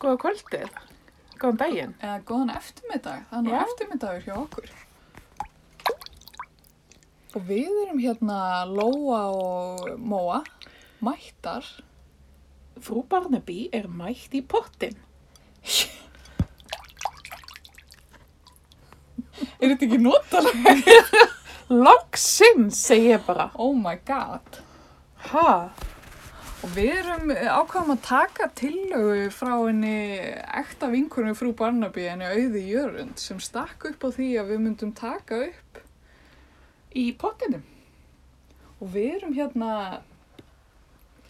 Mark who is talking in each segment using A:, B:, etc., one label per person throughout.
A: Góða kvöldið. Góðan daginn.
B: Eða góðan eftirmiddag, það er nú
A: Já.
B: eftirmiddagur hjá okkur. Og við erum hérna Lóa og Móa, mættar.
A: Frú Barnaby er mætt í pottin.
B: Er þetta ekki notalega?
A: Loksinn, segi ég bara.
B: Oh my god.
A: Ha?
B: Og við erum eh, ákváðum að taka tillögu frá henni ekta vinkunni frú Barnaby henni auði Jörund sem stakk upp á því að við myndum taka upp
A: Í pottinum.
B: og við erum hérna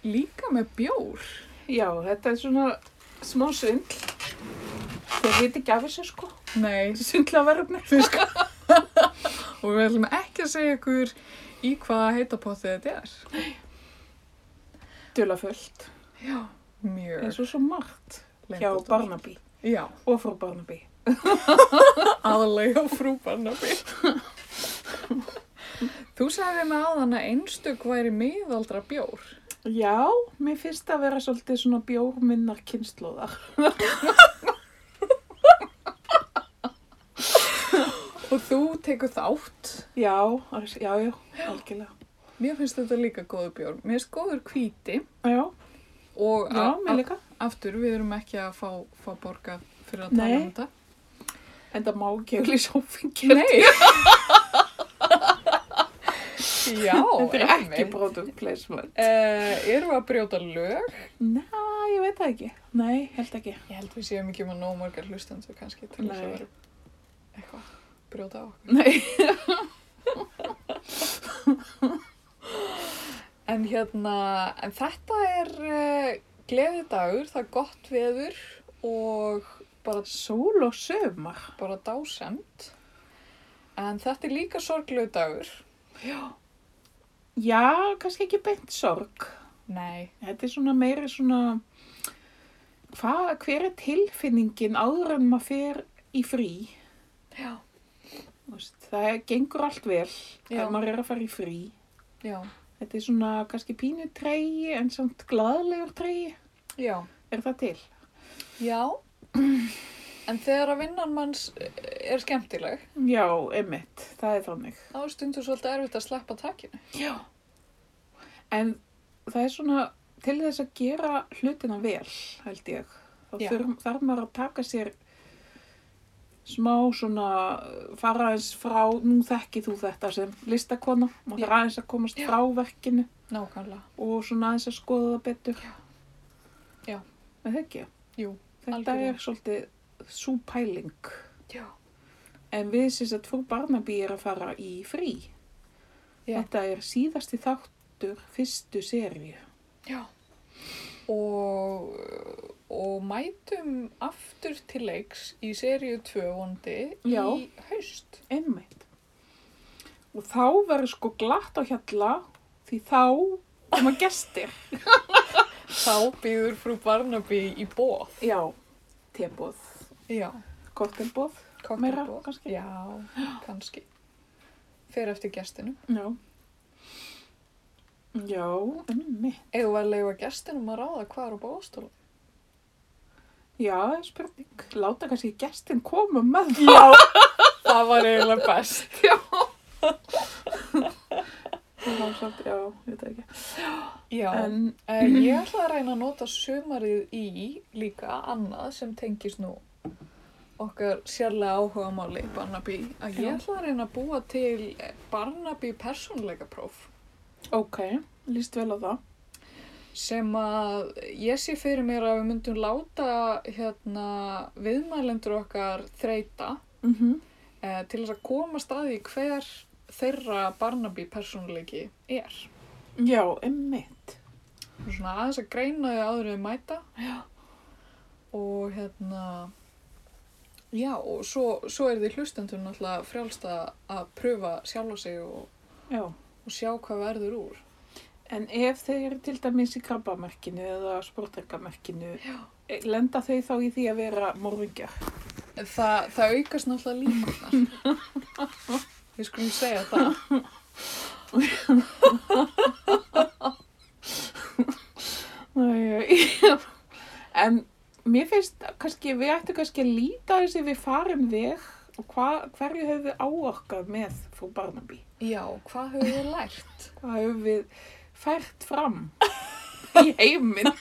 B: líka með bjór.
A: Já, þetta er svona smá sundl. Þeir veit ekki af þessu sko.
B: Nei,
A: Sundlaverfni.
B: og við ætlum ekki að segja ykkur í hvaða heitapottið þetta er.
A: Dula fullt.
B: Já. Mjög.
A: Eins og svo margt. Hjá
B: leyndardómur.
A: Barnaby.
B: Já,
A: Og frú Barnaby.
B: aðalega frú Barnaby. Þú sagði með áðan að einstök væri miðaldra bjór.
A: Já, mér finnst það að vera svolítið svona bjórminnar kynnslóðar.
B: Og þú tekur þátt.
A: Já, alls- já, já, algjörlega.
B: Mér finnst þetta líka góður bjór. Mér finnst góður hvíti
A: Já,
B: og
A: já,
B: a-
A: mér líka.
B: a- aftur við erum ekki að fá, fá borga fyrir að tala
A: Nei.
B: um þetta.
A: En það má ekki auðvitað áfengi.
B: Nei. Já,
A: Þetta er ekki
B: einmitt.
A: product placement.
B: Uh, erum við að brjóta lög?
A: Næ, Eh, ég veit það ekki. Nei, held ekki.
B: Ég held við séum ekki með nóg margar hlustendur kannski til þess að
A: Nei.
B: vera eitthvað brjóta á okkur.
A: Nei.
B: En hérna, en þetta er uh, gleðidagur, það er gott veður og bara,
A: Sól og sömar.
B: bara dásend. En þetta er líka sorglegu dagur.
A: Já, kannski ekki beint sorg.
B: Nei.
A: Þetta er svona meiri svona, hvað, hver er tilfinningin áður en maður fer í frí?
B: Já.
A: Þú Veist, það gengur allt vel
B: Já.
A: ef maður er að fara í frí.
B: Já.
A: Þetta er svona kannski pínu tregi en samt glaðlegur tregi.
B: Já.
A: Er það til?
B: Já. En þegar að vinnan manns eh, er skemmtileg,
A: Já, emmitt, það er þannig.
B: þá er stundur svolítið erfitt að sleppa takinu.
A: Já. En það er svona, til þess að gera hlutina vel, held ég, þá
B: Já.
A: þurf, þarf maður að taka sér smá svona, uh, fara aðeins frá, nú þekki þú þetta sem listakona, maður
B: Já.
A: þarf aðeins að komast
B: Já.
A: frá verkinu
B: Nákvæmlega.
A: og svona aðeins að skoða það betur.
B: Já. Já.
A: Er það ekki?
B: Jú,
A: Þetta
B: algjörlega.
A: er svolítið sú pæling.
B: Já.
A: En við syns að frú Barnaby er að fara í frí.
B: Já.
A: Þetta er síðasti þáttur fyrstu seríu.
B: Já. Og, og mætum aftur til leiks í seríu 2 vondi
A: Já.
B: í haust.
A: Einmitt. Og þá verður sko glatt á hjalla því þá koma gestir.
B: Þá býður frú Barnaby í bóð.
A: Já, tebóð,
B: Já.
A: koktelbóð, meira
B: Koktelboð.
A: kannski.
B: Já, kannski. Fer eftir gestinum.
A: Já. Já, einmitt.
B: Eða var að leifa gestinum að ráða hvað er á bóðstólum.
A: Já, það er spurning. Láta kannski gestin koma með því.
B: Já, það var eiginlega best.
A: Já, samt, já, ég veit það ekki.
B: Já, en,
A: En,
B: ég ætla að reyna að nota sumarið í líka annað sem tengist nú okkar sérlega áhuga máli Barnaby að ég
A: Já.
B: ætla að reyna að búa til eh, Barnaby persónleika próf
A: ok, líst vel á það.
B: sem að ég sé fyrir mér að við myndum láta hérna viðmælendur okkar þreita
A: Mm
B: eh, til þess að koma staði hver þeirra Barnaby persónleiki er.
A: Já, einmitt.
B: Svona aðeins að greina því áður en þau mæta
A: Já.
B: og hérna já og svo, svo er því hlustendur náttúrulega frjálst að að pröfa sjálfa sig og,
A: Já.
B: og sjá hvað verður úr
A: En ef þeir eru til dæmis í krabbamerkinu eða sportrekkamerkinu,
B: Já.
A: lenda þau þá í því að vera morðingjar?
B: Þa, það aukast náttúrulega líkunar við skulum segja það
A: Æ, æ, æ. en mér finnst kannski, við ættum kannski að líta þessi við farum veg og hva, hverju höfum við á okkar með frú Barnaby?
B: Já, hvað höfum við lært?
A: Hvað höfum við fært fram í heiminn?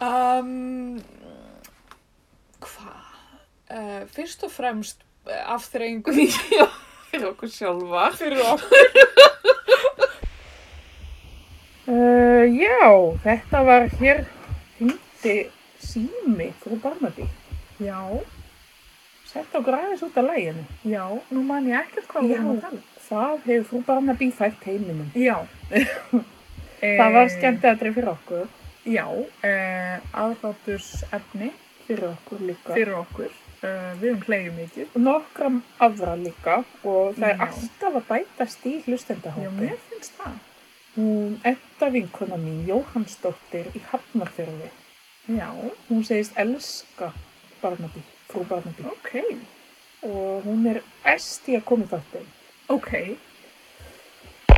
B: Um, hvað? Uh, fyrst og fremst afþreyingu
A: Já, fyrir okkur sjálfa.
B: fyrir okkur.
A: Uh, já, þetta var hér hindi sími frú Barnaby.
B: Já,
A: Sett okkur aðeins út af læginu.
B: já, nú man ég ekkert hvað við
A: Já.
B: erum að tala. um.
A: Hvað hefur frú Barnaby fært heiminum?
B: Já.
A: Það var
B: Eh,
A: skemmtilegri fyrir okkur,
B: Já, uh, aðlátursefni
A: fyrir okkur líka.
B: fyrir okkur. Uh, við höfum hleyju mikið.
A: nokkra afra líka og það er
B: Já.
A: alltaf að bætast í
B: Já,
A: hlustendahópi.
B: mér finnst það.
A: Hún enda vinkona mín, Jóhannsdóttir í Hafnarfjörði.
B: Já,
A: Hún segist elska Barnaby, frú Barnaby
B: ok,
A: og hún er æst í að koma í þáttin.
B: ok.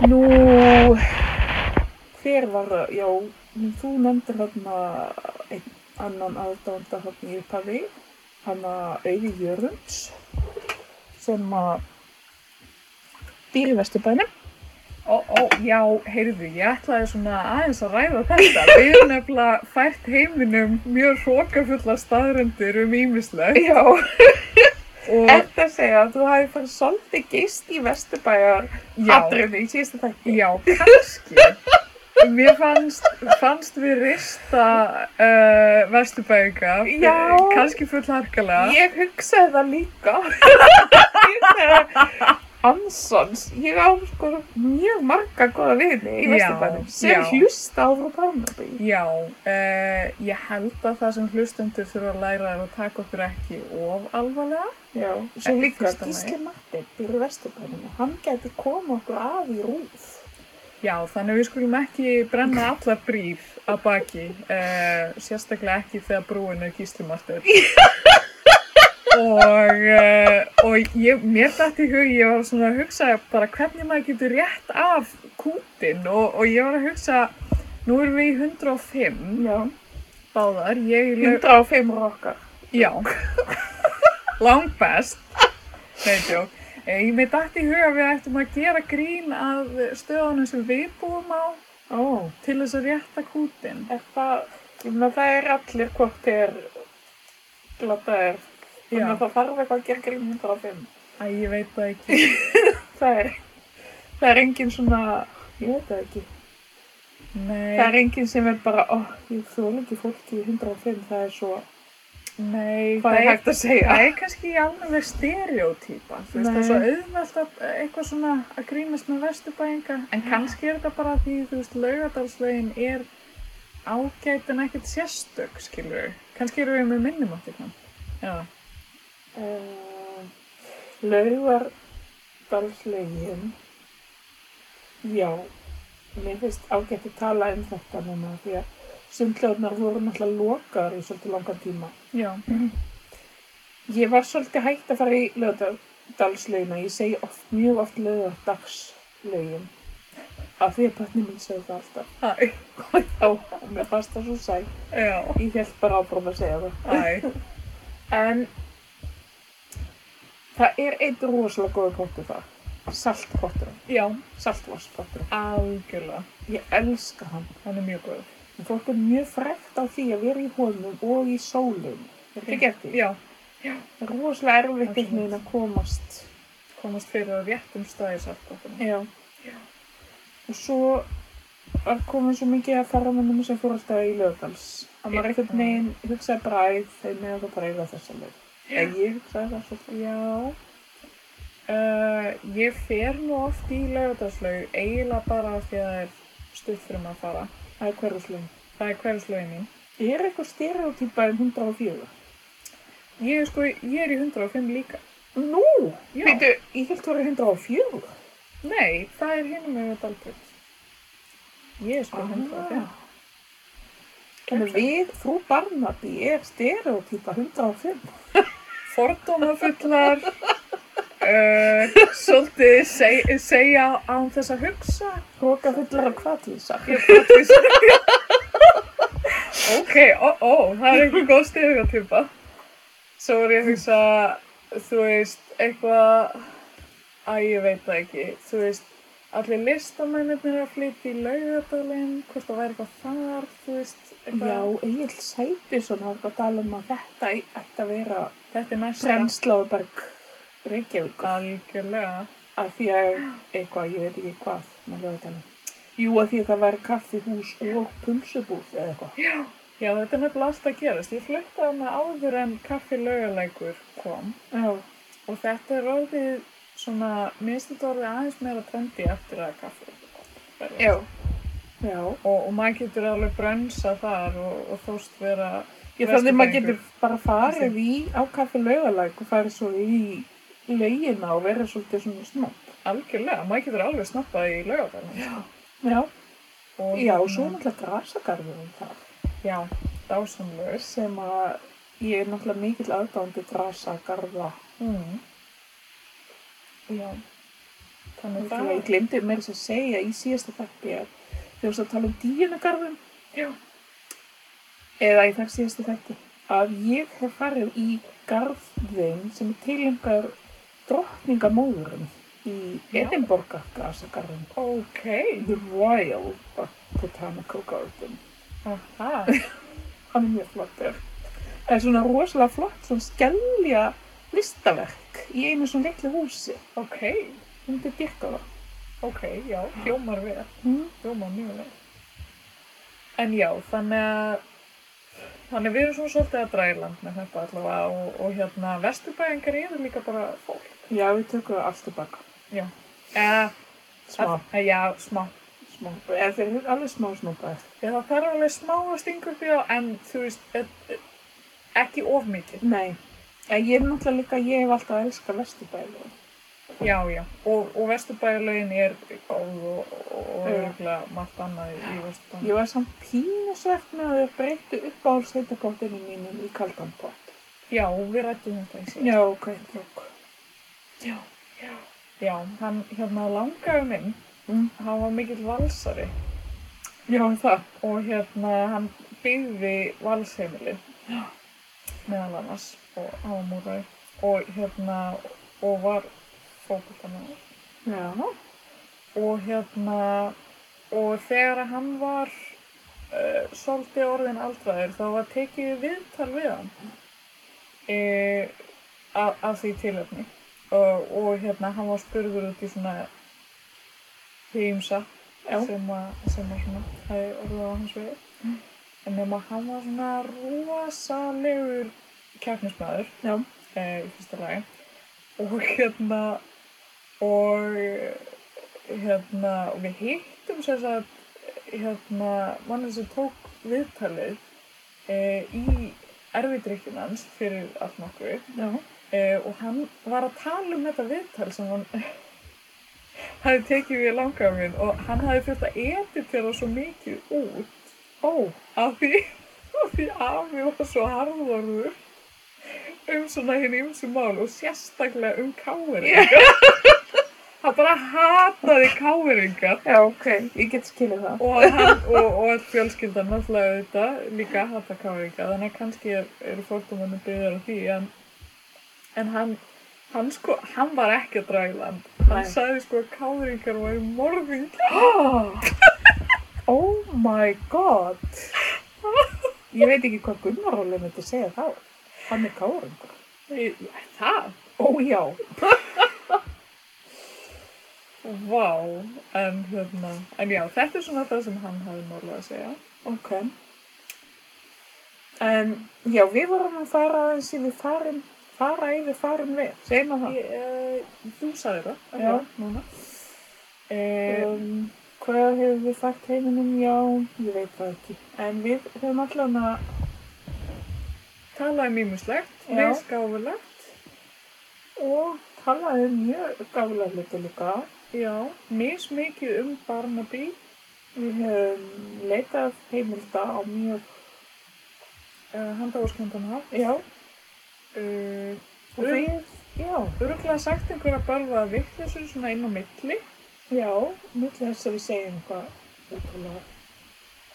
A: Nú, hver var, já, þú nefndir hérna einn annan aðdánda hérna í upphafi, hana Auði Jörunds sem að býr í Vesturbænum.
B: Ó, ó, já, heyrðu, ég ætlaði svona aðeins að ræða þetta. Við erum nefnilega fært heiminum mjög hrókafulla staðrendir um ímisleg.
A: Já,
B: Og,
A: eftir að segja að þú hafi farið svolítið gist í Vesturbæjar
B: já,
A: atriðinu í síðustu þætti.
B: já, kannski. Mér fannst, fannst við rista uh, vesturbæðinga,
A: Já.
B: kannski fullharkalega.
A: Ég hugsaði það líka. Ég hugsaði Ansons, ég á sko mjög marga góða vini í
B: Já,
A: Vesturbænum sem
B: já.
A: hlusta á frá Barnaby.
B: Já, uh, ég held að það sem hlustendur þurfa að læra er að taka okkur ekki of alvarlega.
A: Já, svo
B: Ekki
A: líka
B: fyrsta lagi.
A: Gísli Matti býr í Vesturbænum og hann gæti koma okkur að í rúf.
B: Já, þannig að við skulum ekki brenna allar brýr að baki, uh, sérstaklega ekki þegar brúin er gíslimartur. og uh, og ég, mér dætti í hug, ég var svona að hugsa bara hvernig maður getur rétt af kútin og, og ég var að hugsa, nú erum við í 105
A: Já,
B: báðar, ég í laug-
A: 105 rockar.
B: Já. Langbest. Nei, tjók. Ég með dætt í huga við ættum að gera grín að stöðunum sem við búum á
A: Ó,
B: til þess að rétta kútin.
A: er það, ég meina það er allir hvort þeir glataðir Þannig
B: Já.
A: að það þarf eitthvað að gera grín 105.
B: Æ, ég veit það ekki.
A: Það er, það er engin svona, ég veit það ekki. Það
B: Nei,
A: er engin sem er bara, ó, ég þóla ekki fólki í 105, það er svo,
B: nei.
A: hvað er hægt að segja?
B: Það er kannski alveg stereotýpa, þú veist,
A: Nei.
B: það er svo auðvelt að eh, eitthvað svona að grínast með vesturbæinga, en kannski er þetta bara því, þú veist, laugadalslegin er ágæt en ekkert sérstök, skilur við. Kannski eru við með minnumáttir hann. Já.
A: Uh, Laugardalslegin, já, mér finnst ágætt að tala um þetta núna því að sundljóðnar voru náttúrulega lokaðar í svolítið langan tíma.
B: Já.
A: Ég var svolítið hægt að fara í lögdalslaugina. Ég segi oft, mjög oft lögdalslaugin. Af því að pötni mín segi það alltaf.
B: Æ,
A: Já, og mér fannst það svo sæl.
B: já,
A: Ég held bara áfram að segja það.
B: æ,
A: En það er einn rosalega góður pottur það. Saltpottur.
B: já,
A: Saltvarspottur.
B: algjörlega,
A: Ég elska hann.
B: hann er mjög góð.
A: En fólk er mjög frekt á því að vera í honum og í sólum. Er þetta ekki eftir?
B: Já,
A: Það er rosalega erfitt
B: Absolutt.
A: einhvern veginn að komast.
B: komast fyrir á réttum staði saltbóttunum.
A: Já. Og svo var komin svo mikið að ferðamennum sem fór alltaf í Löðdals. Að maður einhvern veginn hugsaði bara æð, þeir meðan það bara eiga þessa leið. En ég hugsaði það svolítið.
B: Já, uh, ég fer nú oft í laugardagslaug, eiginlega bara af því að það er stutt fyrir maður að fara.
A: Það er hverjuslaun.
B: Það er hverjuslaugin mín.
A: Er eitthvað stereotýpa en 104?
B: Ég er sko, ég er í 105 líka.
A: Nú!
B: Já.
A: Veitu, ég held þú eru 104.
B: Nei, það er hinum með dalbröð. Ég er sko 105.
A: Ah. Þannig við, frú Barnaby, er stereotýpa 105.
B: fordómafullar uh, svolítið seg, segja án þess að hugsa
A: Hróka fullar og kvatlýsa.
B: ég er praktísk ok, ó, ó, það er einhver góð styrgatýpa. Svo er ég að hugsa, þú veist, eitthvað, æ, ég veit það ekki, þú veist, allir listamennir að flytja í laugadalinn, hvort það væri eitthvað þar, þú veist,
A: Já,
B: eitthvað,
A: Egil Sæbjörnsson var eitthvað að tala um að þetta ætti að vera
B: þetta er næsta.
A: Brennslóðberg Reykjavík
B: Algjörlega.
A: af því að eitthvað, ég veit ekki hvað með lögatæmi. Jú, af því að það væri kaffihús og pulsubúð eða eitthvað.
B: Já, þetta er nefnilega alltaf að gerast. Ég fluttaði hana áður en kaffi laugalækur kom
A: Já,
B: og þetta er orðið svona, minnst þetta orðið aðeins meira trendi eftir að kaffi verður.
A: já, já.
B: og, og maður getur alveg brönsa þar og, og þóst vera
A: Ég þannig að maður
B: Vesturbæingur.
A: getur bara farið í á kaffi lögalæk og farið svo í laugina og verið svolítið svona snopp.
B: algjörlega, maður getur alveg snappað í laugavæðan
A: Já, já, og svo er náttúrulega grasagarðurinn þar
B: já, dásamlegur
A: sem að ég er náttúrulega mikill aðdándi grasagarða.
B: mm. já þannig
A: Það ég glemdi mér þess að segja í síðasta þætti að þau varst að tala um dýjunagarðum
B: já,
A: eða í þar síðasta þætti að ég hef farið í garðin sem er tilengar drottningamóðurum í
B: Já.
A: Edinborga grasagarðin
B: ok
A: The Royal Botanical Garden
B: aha,
A: hann er mjög flottur það er svona rosalega flott svona skellja listaverk í einu svona litlu húsi
B: ok
A: hún er byrka það
B: ok, já, hljómar vel
A: mm.
B: hljómar mjög vel en já, þannig að Þannig við erum svona svolítið að draga í land með þetta allavega og, og hérna vesturbæðingar eru líka bara fólk.
A: já við tökum það allt tilbaka
B: Já. Eða,
A: smá,
B: Að, já, smá.
A: smá, eða þeir eru alveg smá snúpaðir
B: Já, það þarf alveg smá að stinga upp í þá, en þú veist, e- e- ekki of mikið.
A: Nei, en ég er náttúrulega líka, ég hef alltaf elskað vesturbæði.
B: Já, já, og, og vesturbæjarlaugin er góð og, og, og
A: Já.
B: örgulega margt annað í, í vesturbæjarlaugin.
A: Ég var samt pínusvegt með að þau breyttu upp á sveitapottinu mínum í kaldan pott.
B: Já, við rættum þetta eins og
A: Já, ok, ok.
B: Já, hann hérna langaði minn,
A: Mm.
B: hann var mikill valsari
A: Já, það.
B: og hérna hann byggði valsheimili meðal annars og ámúraði og hérna og var fókultamæður.
A: Já,
B: og hérna og þegar að hann var uh, svolítið orðin aldraður þá var tekið viðtal við hann uh, að því tilöfni og, og hérna hann var spurður út í svona hýmsa
A: já,
B: sem að sem að svona hefði orðið á hans við en nema hann var svona rosalegur keppnismæður
A: já,
B: eh, í fyrsta lagi og hérna og eh, hérna og við hittum sem sagt hérna mannir sem tók viðtalið eh, í erfidrykkjun hans fyrir allt nokkru
A: já.
B: eh, og hann var að tala um þetta viðtal sem hann hafði tekið við langaðum minn og hann hafði þurft að editera svo mikið út
A: Ó,
B: af því af því afi var svo harðorður um svona hinn ímsu mál og sérstaklega um káeringar hann bara hataði káeringar
A: já, ok, ég get skilið það.
B: og, hann, og, og öll fjölskyldan náttúrulega auðvitað líka hata káeringar þannig að kannski er, eru fórtumannu byggðar á því en, en hann hann sko, hann var ekki að draga í land hann
A: Nei.
B: sagði sko að káeringar væri morðingar
A: Oh, oh my god. Ég veit ekki hvað Gunnar Óli myndi segja þá. Hann er káringur.
B: það?
A: Ó, já.
B: Vá, en hérna, en já, þetta er svona það sem hann hafði málað að segja.
A: Ok. En já, við vorum að fara aðeins yfir farin, fara yfir farin við, segjum að það.
B: Ég, uh, þú sagði það, er
A: Já.
B: það, núna. Uh,
A: Um, hvað hefur við fært heiminum? Já, ég veit það ekki. En við höfum allan að,
B: talaði mýmislegt,
A: Já.
B: leysgáfulegt,
A: og talaði um mjög gála hluti líka.
B: já, mismikið um Barnaby,
A: Við höfum leitað heimilda á mjög,
B: uh, handáðskjöndan hatt,
A: já,
B: uh,
A: og við, já,
B: öruglega sagt einhverja bölvaða vittleysu svona inn á milli.
A: já, mjög þess að við segjum eitthvað útrúlega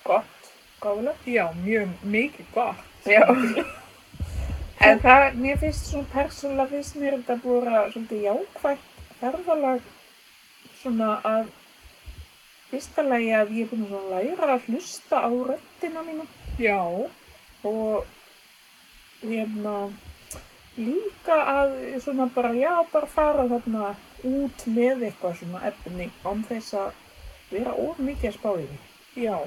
A: gott. gáfulegt.
B: Já, mjög mikið gott.
A: Já. en það, mér finnst svona persónulega finnst mér þetta búið að vera svolítið jákvætt ferðalag svona að fyrsta lagi að ég er búin að svona læra að hlusta á röddina mínu
B: Já,
A: og hérna líka að svona bara, já, bara fara þarna út með eitthvað svona efni án þess að vera of mikið að spá í því.
B: já.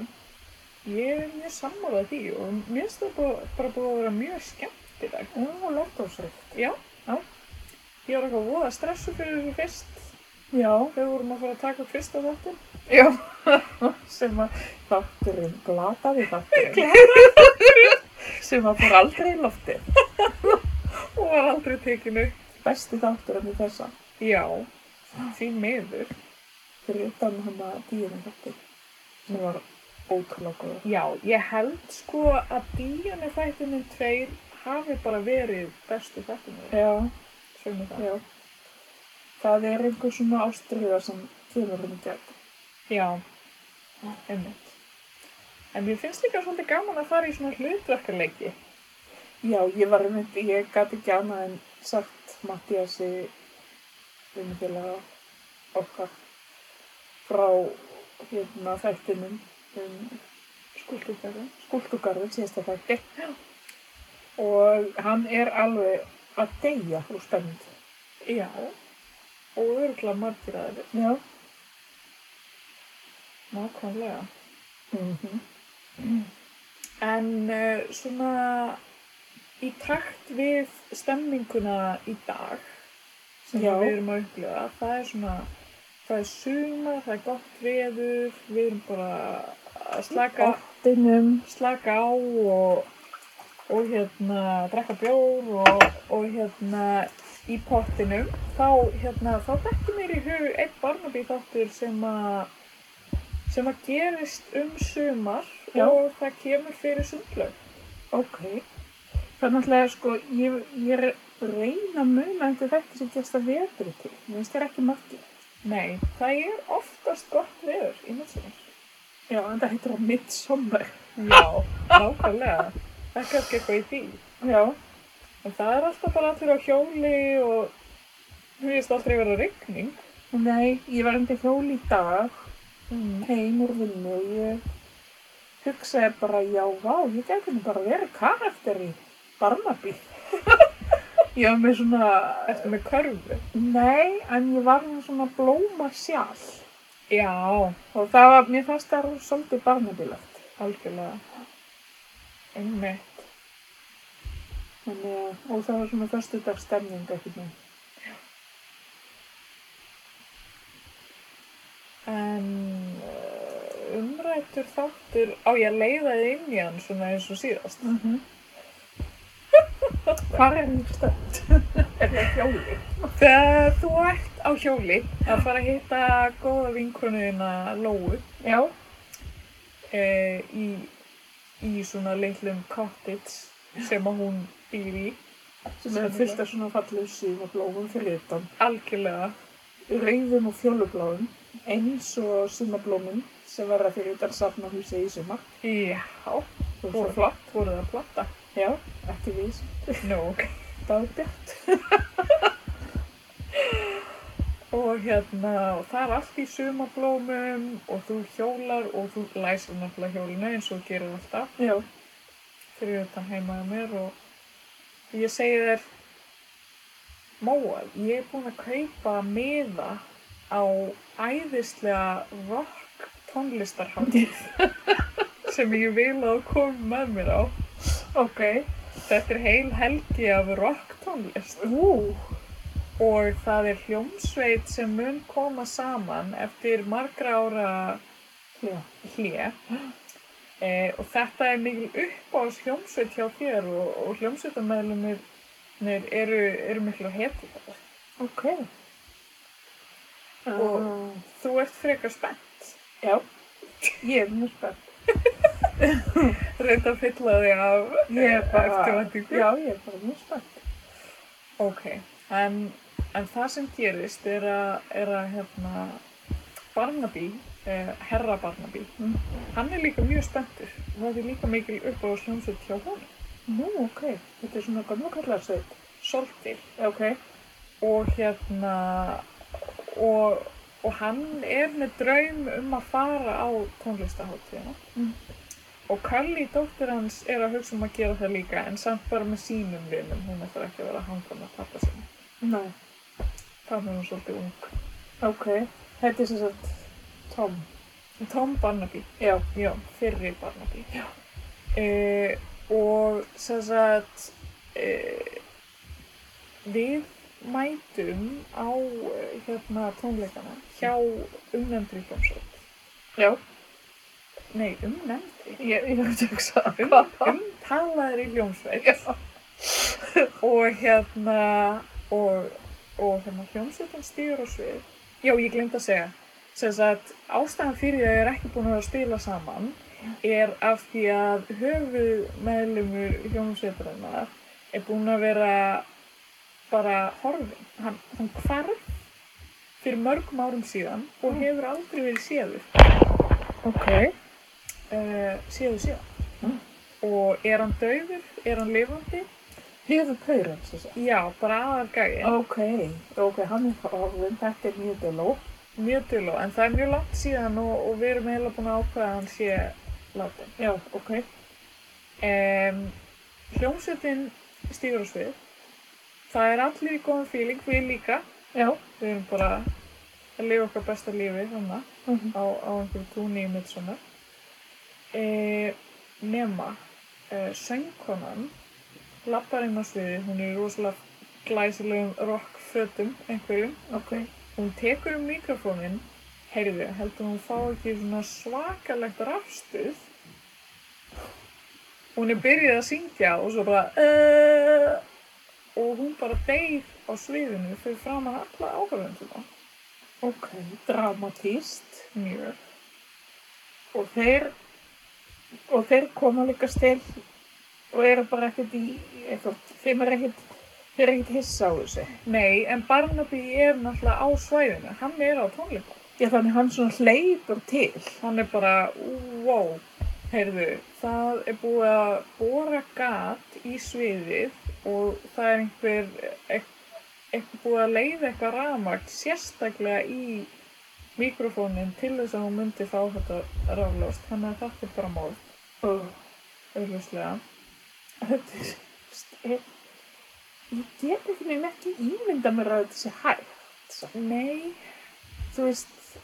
B: Ég er mjög sammálað því og mér finnst það bara, bara búið að vera mjög skemmtileg.
A: Já, lært á sér.
B: Já, já. Ég var eitthvað voða stressu fyrir þessu fyrst
A: Já,
B: þegar við vorum að fara að taka upp fyrsta þáttin.
A: já, sem að þátturinn, glataði þátturinn, sem að fór aldrei í lofti.
B: Og var aldrei tekinu.
A: Besti þátturinn í þessa,
B: Já, því meður.
A: fyrir utan hann að tíunum þáttur, sem var ótrúlega góður.
B: Já, ég held sko að díjana þættinum tveir hafi bara verið bestu þættinum.
A: Já,
B: Sveinu það.
A: já. Það er einhver svona ástriða sem tíunum þátturinn gegn.
B: Já, einmitt. En mér finnst líka svolítið gaman að fara í svona hlutverkarleiki.
A: Já, ég var einmitt, ég gæti ekki annað en sagt Mattiasi vinnufélaga okkar frá hérna þættinum um
B: Skuldugverðin.
A: skúlkugarðin síðasta þætti og hann er alveg að deyja úr spennd.
B: Já, og örgulega margir að þeir.
A: Já.
B: Nákvæmlega.
A: Mm
B: En uh, svona í takt við stemminguna í dag sem
A: Já.
B: við erum að upplifa, það er svona, það er sumar, það er gott veður, við erum bara að slaka
A: Óttinum.
B: slaka á og, og hérna, drekka bjór og, og hérna, í pottinum, þá, hérna, þá dekki mér í hug einn Barnaby þáttur sem að sem að gerist um sumar
A: Já.
B: og það kemur fyrir sundlaug.
A: Ok. Þannig að sko, ég, ég er að reyna að muna einhver þætti sem gerst að vetri til. Mér finnst þér ekki margir.
B: Nei, það er oftast gott veður í midsumar.
A: Já, en það heitir á midsommar.
B: Já, nákvæmlega. Það er kannski eitthvað í því.
A: Já,
B: En það er alltaf bara allir á hjóli og þú veist aldrei vera rigning.
A: nei, ég var undir hjóli í dag
B: Mm.
A: heim úr vinnu og ég hugsaði bara, já, vá, ég gæti nú bara verið karakter í Barnaby. ég var með svona,
B: Eftir með körfu.
A: nei, en ég var með svona blóma sjál
B: Já,
A: og það var, mér fannst það var svolítið Barnabylagt.
B: Algjörlega. Einmitt.
A: Þannig að, og það var svona föstudagstemning ekkert með.
B: En uh, umrættur þáttur, á ég að leiða þið inn í hann svona eins og síðast.
A: Mm -hmm. Hvar er mér stönd? er það hjóli?
B: Þegar þú ert á hjóli að fara að hitta góða vinkonuðina Lóu
A: Já,
B: e, í, í svona litlum cottage sem að hún býr í.
A: sem er fullt af svona fallegu síðan og blómum fyrir utan.
B: Algjörlega.
A: rauðum og fjólubláum eins og sumablómum sem verða fyrir utan safnahúsi í sumar
B: Já,
A: og svo
B: voru
A: flott,
B: flott, voru það að platta.
A: já, ekki við sem
B: Nó.
A: dagbjart
B: Og hérna, og það er allt í sumablómum og þú hjólar og þú læsir náttúrulega hjólinu eins og þú gerir alltaf
A: já,
B: fyrir þetta heimaða mér og ég segi þér Móa, ég er búin að kaupa miða á æðislega rock tónlistarháttið sem ég vil að þú komi með mér á.
A: ok
B: Þetta er heil helgi af rock tónlist
A: ú,
B: og það er hljómsveit sem mun koma saman eftir margra ára
A: já,
B: hlje e, og þetta er mikil uppáðs hljómsveit hjá þér og, og hljómsveitamæðlumir eru, eru miklu hetið þetta.
A: ok
B: Og-
A: Ah,
B: Þú ert frekar spennt,
A: já, ég er mjög spennt
B: reynda að fylla þig af
A: ég er bara,
B: eftirvæntingu.
A: Ah. já, ég er bara mjög spennt
B: Ok, en, en það sem gerist er að, er að hérna, Barnaby uh, Herra Barnaby
A: Mm.
B: hann er líka mjög spenntur og það er líka mikil upp á sljómsveit hjá hún
A: Nú, ok. Þetta er svona gamla kallarsveit.
B: svolítið
A: Ok.
B: og hérna og, og hann er með draum um að fara á tónlistaháttíðina
A: Mm.
B: og Kalli dóttir hans er að hugsa um að gera það líka en samt bara með sínum vinum hún ætlar ekki að vera að hanga með pappa sinni
A: Nei.
B: það er hún svolítið ung
A: Ok. Þetta er sem sagt Tom.
B: Tom Barnaby
A: Já.
B: Já, fyrri Barnaby. Já. Eh, og sem sagt, e, við mætum á eh, hérna, tónleikana hjá umnefndri hljómsveit.
A: Já.
B: Nei, umnefndri?
A: Ég, ég hef tjóksað
B: Um,
A: hvað.
B: umtalaðri hljómsveit. og hérna, og, og hérna hljómsveitin stýr á svið. Já, ég glemt að segja. Sem sagt, ástæðan fyrir því að ég er ekki búin að vera að spila saman er af því að höfuð meðlumur hljómsveitarinnar er búinn að vera bara horfinn. Hann, hann hvarf fyrir mörgum árum síðan og hefur aldrei verið séður,
A: Ok.
B: uh, séður síðan.
A: Mm.
B: Og er hann dauður? Er hann lifandi?
A: Hefur pöyran sem sagt.
B: Já, bara aðargæði.
A: Ok. Ok, hann er horfinn. Þetta er mjög deló.
B: Mjög duló, en það er mjög langt síðan og, og við erum heila búin að ákveða að hann sé látin.
A: Já, ok.
B: um, hljómsveitin stígur á svið það er allir í góðum fíling við líka,
A: Já.
B: við erum bara að lifa okkar besta lífi þannig
A: Mm
B: á, á einhverju túni í midsommar e, nema e, söngkonan lappar inn á sviði, hún er í rosalega glæsilegum rockfötum einhverjum,
A: Ok.
B: hún tekur um mikrofónin heyrðu, heldur hún fá ekki svona svakalegt rafstuð hún er byrjuð að syngja og svo bara uh, og hún bara deyð á sviðinu fyrir fram að alla áhverjum sem það
A: Ok. Dramatíst.
B: mjög
A: Og þeir, og þeir koma líka stil og eru bara ekkert í, eitthvað, þeim er ekkert, þeir eru ekkert hissa á þessu.
B: nei, en Barnaby er náttúrulega á svæðinu hann er á tónleika
A: Já, þannig hann svona hleypur til.
B: hann er bara, wow heyrðu, það er búið að bóra gat í sviðið og það er einhver eit- eitthvað búið að leiða eitthvað rafmagn sérstaklega í mikrofónin til þess að hún myndi fá þetta raflöst þannig að þetta er bara mál,
A: Og
B: auðvitað
A: þetta er, st- ég get ekki með ekki ímynda mér að þetta sé hægt. samt.
B: nei,
A: Þú veist,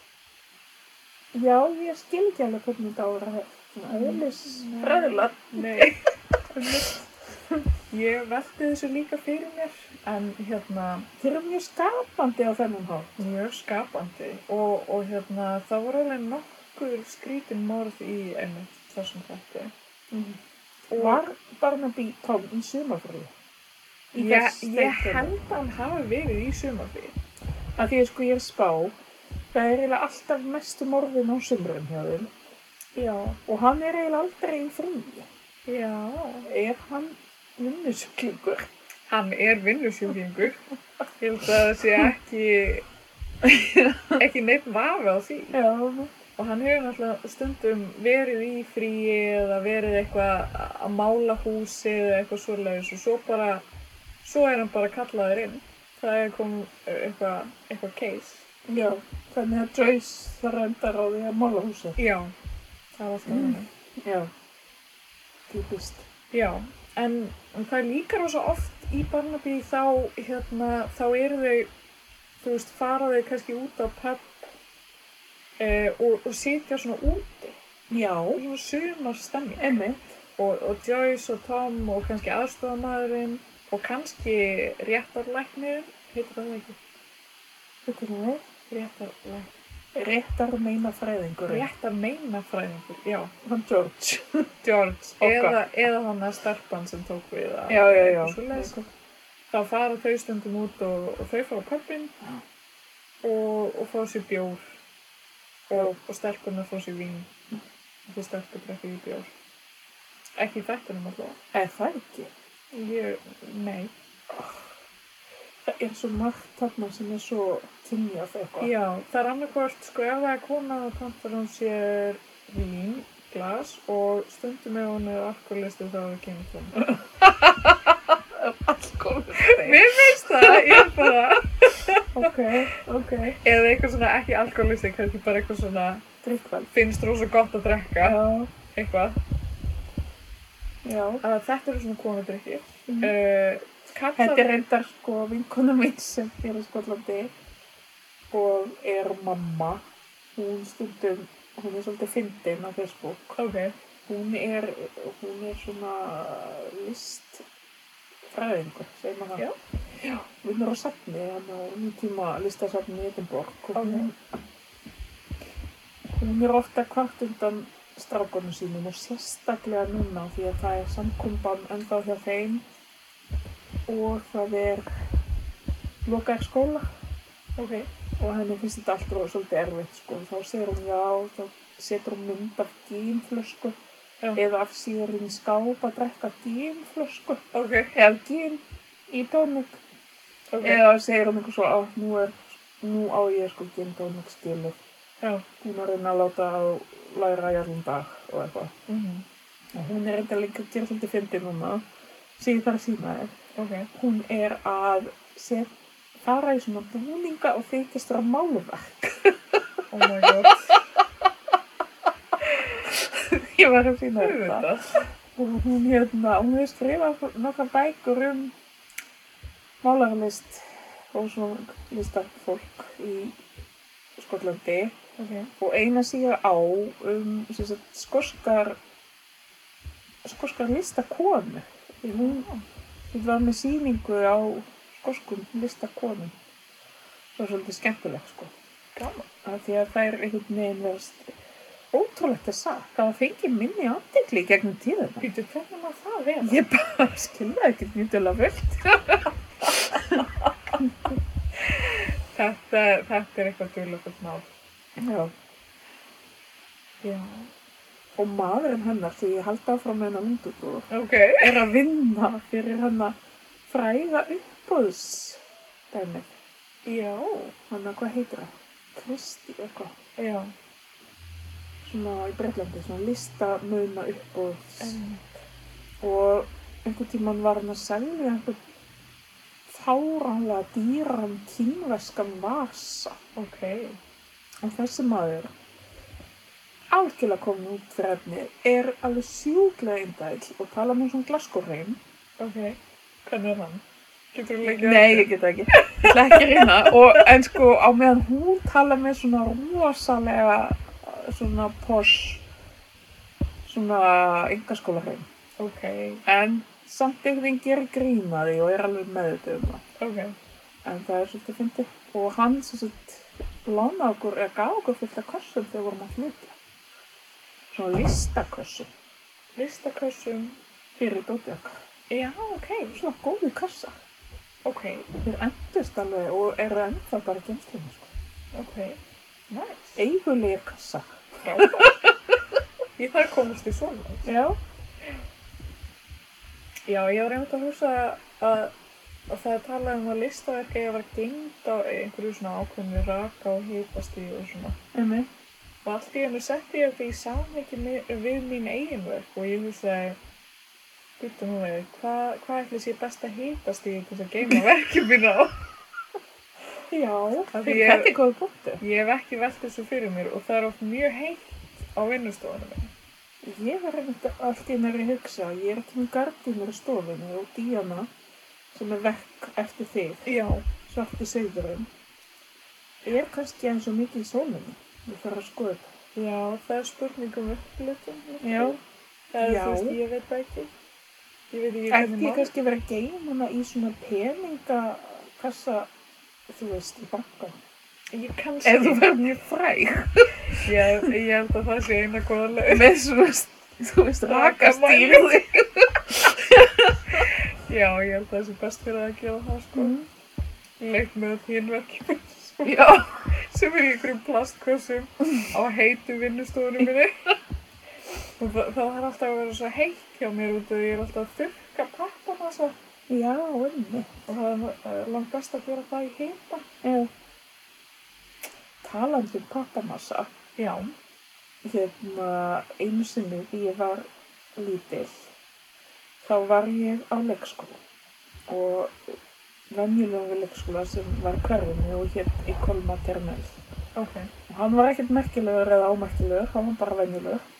A: já, ég skil ekki alveg hvernig þetta á að vera hægt. Svona Eðlis,
B: Mm, Nei.
A: fræðilega.
B: Nei, ég velti þessu líka fyrir mér, en hérna,
A: Þeir eru mjög skapandi á þennan hátt.
B: mjög skapandi og, og hérna, það voru alveg nokkur skrítin morð í einmitt þessum þetta.
A: Mm.
B: Og
A: Var Barnaby Tom í sumarfröðu?
B: ég, ég held að hann hafi verið í sumafí.
A: að því að sko ég er að spá það er eiginlega alltaf mestu morðin á sumrun hjá þeim
B: Já,
A: og hann er eiginlega aldrei í frí
B: já.
A: ef hann vinnusuglingur
B: Hann er vinnusjúkingur, ég held að það sé ekki, ekki neitt vafi á því.
A: já,
B: Og hann hefur náttúrulega stundum verið í fríi eða verið eitthvað að mála húsi eða eitthvað svoleiðis og svo bara, svo er hann bara kallaður inn. Það er kom eitthvað, eitthvað case.
A: já þannig að Joyce það reyndar á því að mála húsið
B: Já. Það er alltaf
A: Mm.
B: hann.
A: já, típist
B: Já, en, en það er líka rosa oft í Barnaby þá, hérna, þá eru þau, þú veist, fara þau kannski út á pub eh, og, og sitja svona úti.
A: já,
B: Og svona sumar stemning.
A: emmitt
B: og, og Joyce og Tom og kannski aðstofamæðurinn og kannski réttarlæknir heitir það ekki réttarlæknir
A: réttar meina fræðingur
B: réttar meinafræðingur, já
A: hann George
B: George,
A: Okkar.
B: eða, eða hann að starpan sem tók við að
A: já, já, já,
B: Svoleiðis. þá fara þau stundum út og, og þau fara á pöppin
A: Já.
B: og, og fá sér bjór og, og stelpunar fá sér vín og þau stelpur drekka í bjór ekki í þættinum alltaf
A: er það ekki
B: ég, nei
A: það er svo margt þarna sem er svo tinnjað eitthvað.
B: Já, það er annarkvort, sko, ef það er kona þá pantar hún sér vín, glas og stundum ef hún er alkoholistu þá er kemur kona.
A: Alkoholistið.
B: Mér finnst það, ég er bara,
A: ok, ok.
B: eða eitthvað svona ekki alkoholisti, kannski bara eitthvað svona,
A: Drikkveld.
B: finnst rosa gott að drekka,
A: Já,
B: eitthvað.
A: já.
B: Að þetta eru svona konadrykki.
A: Mhm.
B: Uh,
A: Þetta er reyndar sko vinkona mín sem er í Skotlandi og er mamma. Hún stundum, hún er svolítið fyndin á Facebook.
B: Ok,
A: Hún er, hún er svona listfræðingur, segir maður það.
B: Já.
A: Já, vinnur á safni, hann á um tíma listasafni í Edinborg og
B: Ok.
A: hún, hún er ofta kvart undan strákunum sínum og sérstaklega núna því að það er samkumban ennþá hjá þeim og það er lokaðir skóla
B: ok.
A: og henni finnst þetta allt og svolítið erfitt sko. þá segir hún já, þá setur hún mynd af gínflösku
B: Já.
A: eða af síður hún í skáp að drekka gínflösku
B: Ok,
A: eða gín í tónik
B: ok.
A: eða segir hún eitthvað svo á, nú, er, nú á ég sko gín tónik skilu
B: Já.
A: hún er að reyna að láta að læra í allan dag og eitthvað
B: Mm
A: og hún er reynda líka að gera svolítið fyndið núna sem ég þarf að sína þér
B: Ok.
A: hún er að set, fara í svona búninga og þykist vera málverk
B: Oh my god.
A: ég var að sína þér þetta
B: Auðvitað.
A: og hún hérna, hún hefur skrifað nokkar bækur um málarlist og svona listafólk í Skotlandi
B: Ok.
A: og eina síðar á um sem sagt, skorskar skorskar listakonu því hún hún var með sýningu á skorskum listakonu það var svolítið skemmtileg sko
B: Gaman.
A: af því að það er einhvern veginn verðast ótrúlegt að sagt það var fengið minni andegli gegnum tíðina
B: Býtu, hvernig maður það vera?
A: Ég bara skilja ekki nýttulega fullt.
B: Þetta, þetta er eitthvað djúlega mál.
A: Já.
B: Já.
A: Og maðurinn hennar, því ég held áfram með hennar myndubúðu,
B: Ok.
A: er að vinna fyrir hennar fræða uppbúðs dæmi.
B: Já.
A: Hann að hvað heitir það? Kristi eitthvað.
B: Já.
A: Svona í Breitlandi, svona listamöðna uppbúðs.
B: En,
A: Og einhvern tímann var hann að selja einhvern fáránlega dýran kínveskan vasa.
B: ok.
A: En þessi maður, algjörlega komin út fyrir efni, er alveg sjúklega indæll og tala með svona glaskurreim.
B: Ok. Hvernig er hann? Getur þú leikið
A: Nei, ég get það ekki. Ég ætla ekki að reyna. Og, en sko, á meðan hún tala með svona rosalega, uh, svona posh, svona yngaskólarreim.
B: Ok.
A: En samt einhvern veginn gerir grína því og er alveg meðvitað um það.
B: Ok.
A: En það er svolítið fyndið. Og hann sem sagt lána okkur, eða gaf okkur fullt af kossum þegar við vorum að flytja. Svona listakossum
B: Listakössum.
A: fyrir dótið okkar.
B: Já, ok.
A: Svona góði kassa.
B: Ok.
A: Þeir endust alveg og eru ennþá bara í geimslinni, sko.
B: Ok. Nice.
A: Eigulegir kassa.
B: Frábært. Ég þarf að komast í svona.
A: Já.
B: Já, ég var einmitt að hugsa að, að það er talað um að listaverk eigi að vera gengd á einhverju svona ákveðinu raka og hitastíð og svona.
A: Emi.
B: Og allt í hennu setti ég þetta í samhengi mi- við mín eiginverk og ég hugsaði, býttu nú við, hvað hva ætli sé besta hitastíð til þess að geima verkið mín á?
A: Já. Það
B: því
A: er
B: ég-
A: þetta er góð bóttu.
B: Ég hef ekki velt þessu fyrir mér og það er oft mjög heitt á vinnustofunum minni.
A: Ég er einmitt allt í mér að hugsa. Ég er ekki með gardínur í stofunni og díana sem er vekk eftir þig,
B: Já.
A: svarti sögðurinn. Er kannski eins og mikið í sólinni. Ég þarf að skoða þetta.
B: Já, það er spurning um upplifun.
A: Já.
B: Það er,
A: Já.
B: þú veist, ég veit það ekki. Ég veit ekki
A: Ætti ég
B: maður-
A: kannski verið að geima hana í svona peningakassa, þú veist, í bankan?
B: Ég kannski.
A: Ef þú verður mjög fræg.
B: Ég, ég held að það sé eina góða leið.
A: Með svona, þú veist,
B: rakastýrði. Já, ég held að það sé best fyrir að gera það, sko. Mm.
A: Mm.
B: Leik með þínverkjum
A: Já.
B: sem er í einhverjum plastkössum á heitu vinnustofunum minni. Og það, það er alltaf að vera svo heitt hjá mér út af því ég er alltaf að þurrka pappamassa
A: Já, einmitt.
B: og það er langast að gera það í heita.
A: Já. Talandi um pappamassa,
B: Já.
A: hérna einu sinni því ég var lítil, þá var ég á leikskóla og venjulega leikskóla sem var hverfinu og hétt í Kolma Ternel.
B: Ok.
A: Og hann var ekkert merkilegur eða ámerkilegur, hann var bara venjulegur.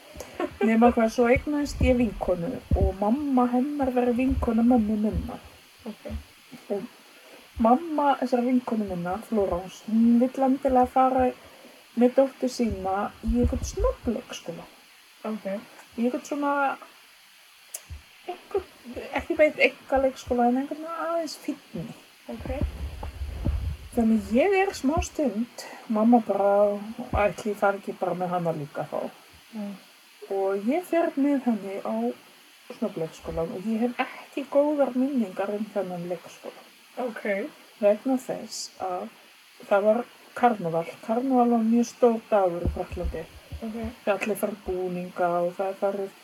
A: Nefna hvað, svo eignaðist ég vinkonu og mamma hennar verið vinkonu mömmu minna.
B: Ok.
A: Mamma þessar vinkonu minna, Flórens, hún vill endilega fara með dóttu sína í einhvern snobbleikskóla.
B: Ok.
A: Í einhvern svona, einhvern, ekki veit eitthvað leikskóla en einhvern veginn aðeins fínni.
B: Ok.
A: Þannig ég er smá stund, mamma bara, ætli ég fari ekki bara með hana líka þá.
B: Mm.
A: Og ég fer með henni á snobbleikskólan og ég hef ekki góðar minningar um þennan leikskóla.
B: Ok.
A: vegna þess að það var karnaval. Karnaval var mjög stór dagur í Fraklandi.
B: Ok.
A: Það er allir farið búninga og það er farið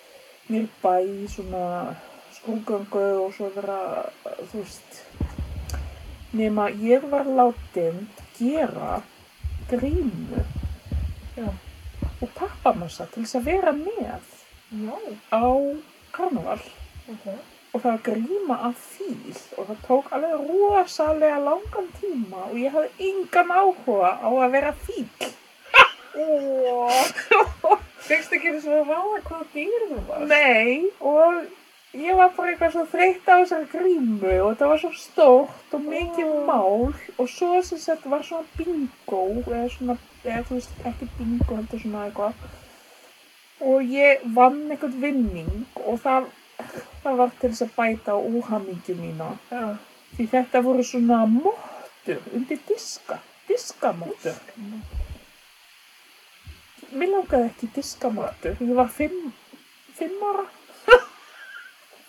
A: nýr bæ í svona skrúgöngu og svo vera, þú veist, nema ég var látin gera grímu
B: Já.
A: og pappamassa til þess að vera með
B: Já.
A: á karnaval
B: Ok.
A: og það var gríma af fíl og það tók alveg rosalega langan tíma og ég hafði engan áhuga á að vera fíl.
B: Óóóó. Fyrst ekki þess að ráða hvaða dýr þú varst.
A: Nei, og ég var bara eitthvað svo þreytt á þessari grímu og það var svo stórt og mikið
B: Mm.
A: mál og svo sem sagt var svona bingo eða svona, eða þú veist, ekki bingo heldur svona eitthvað og ég vann einhvern vinning og það, það var til þess að bæta á óhamingju mína.
B: Já.
A: Því þetta voru svona móttur undir diska, diskamóttur. Mér langaði ekki í diskamóttur, ég var fimm, fimm ára.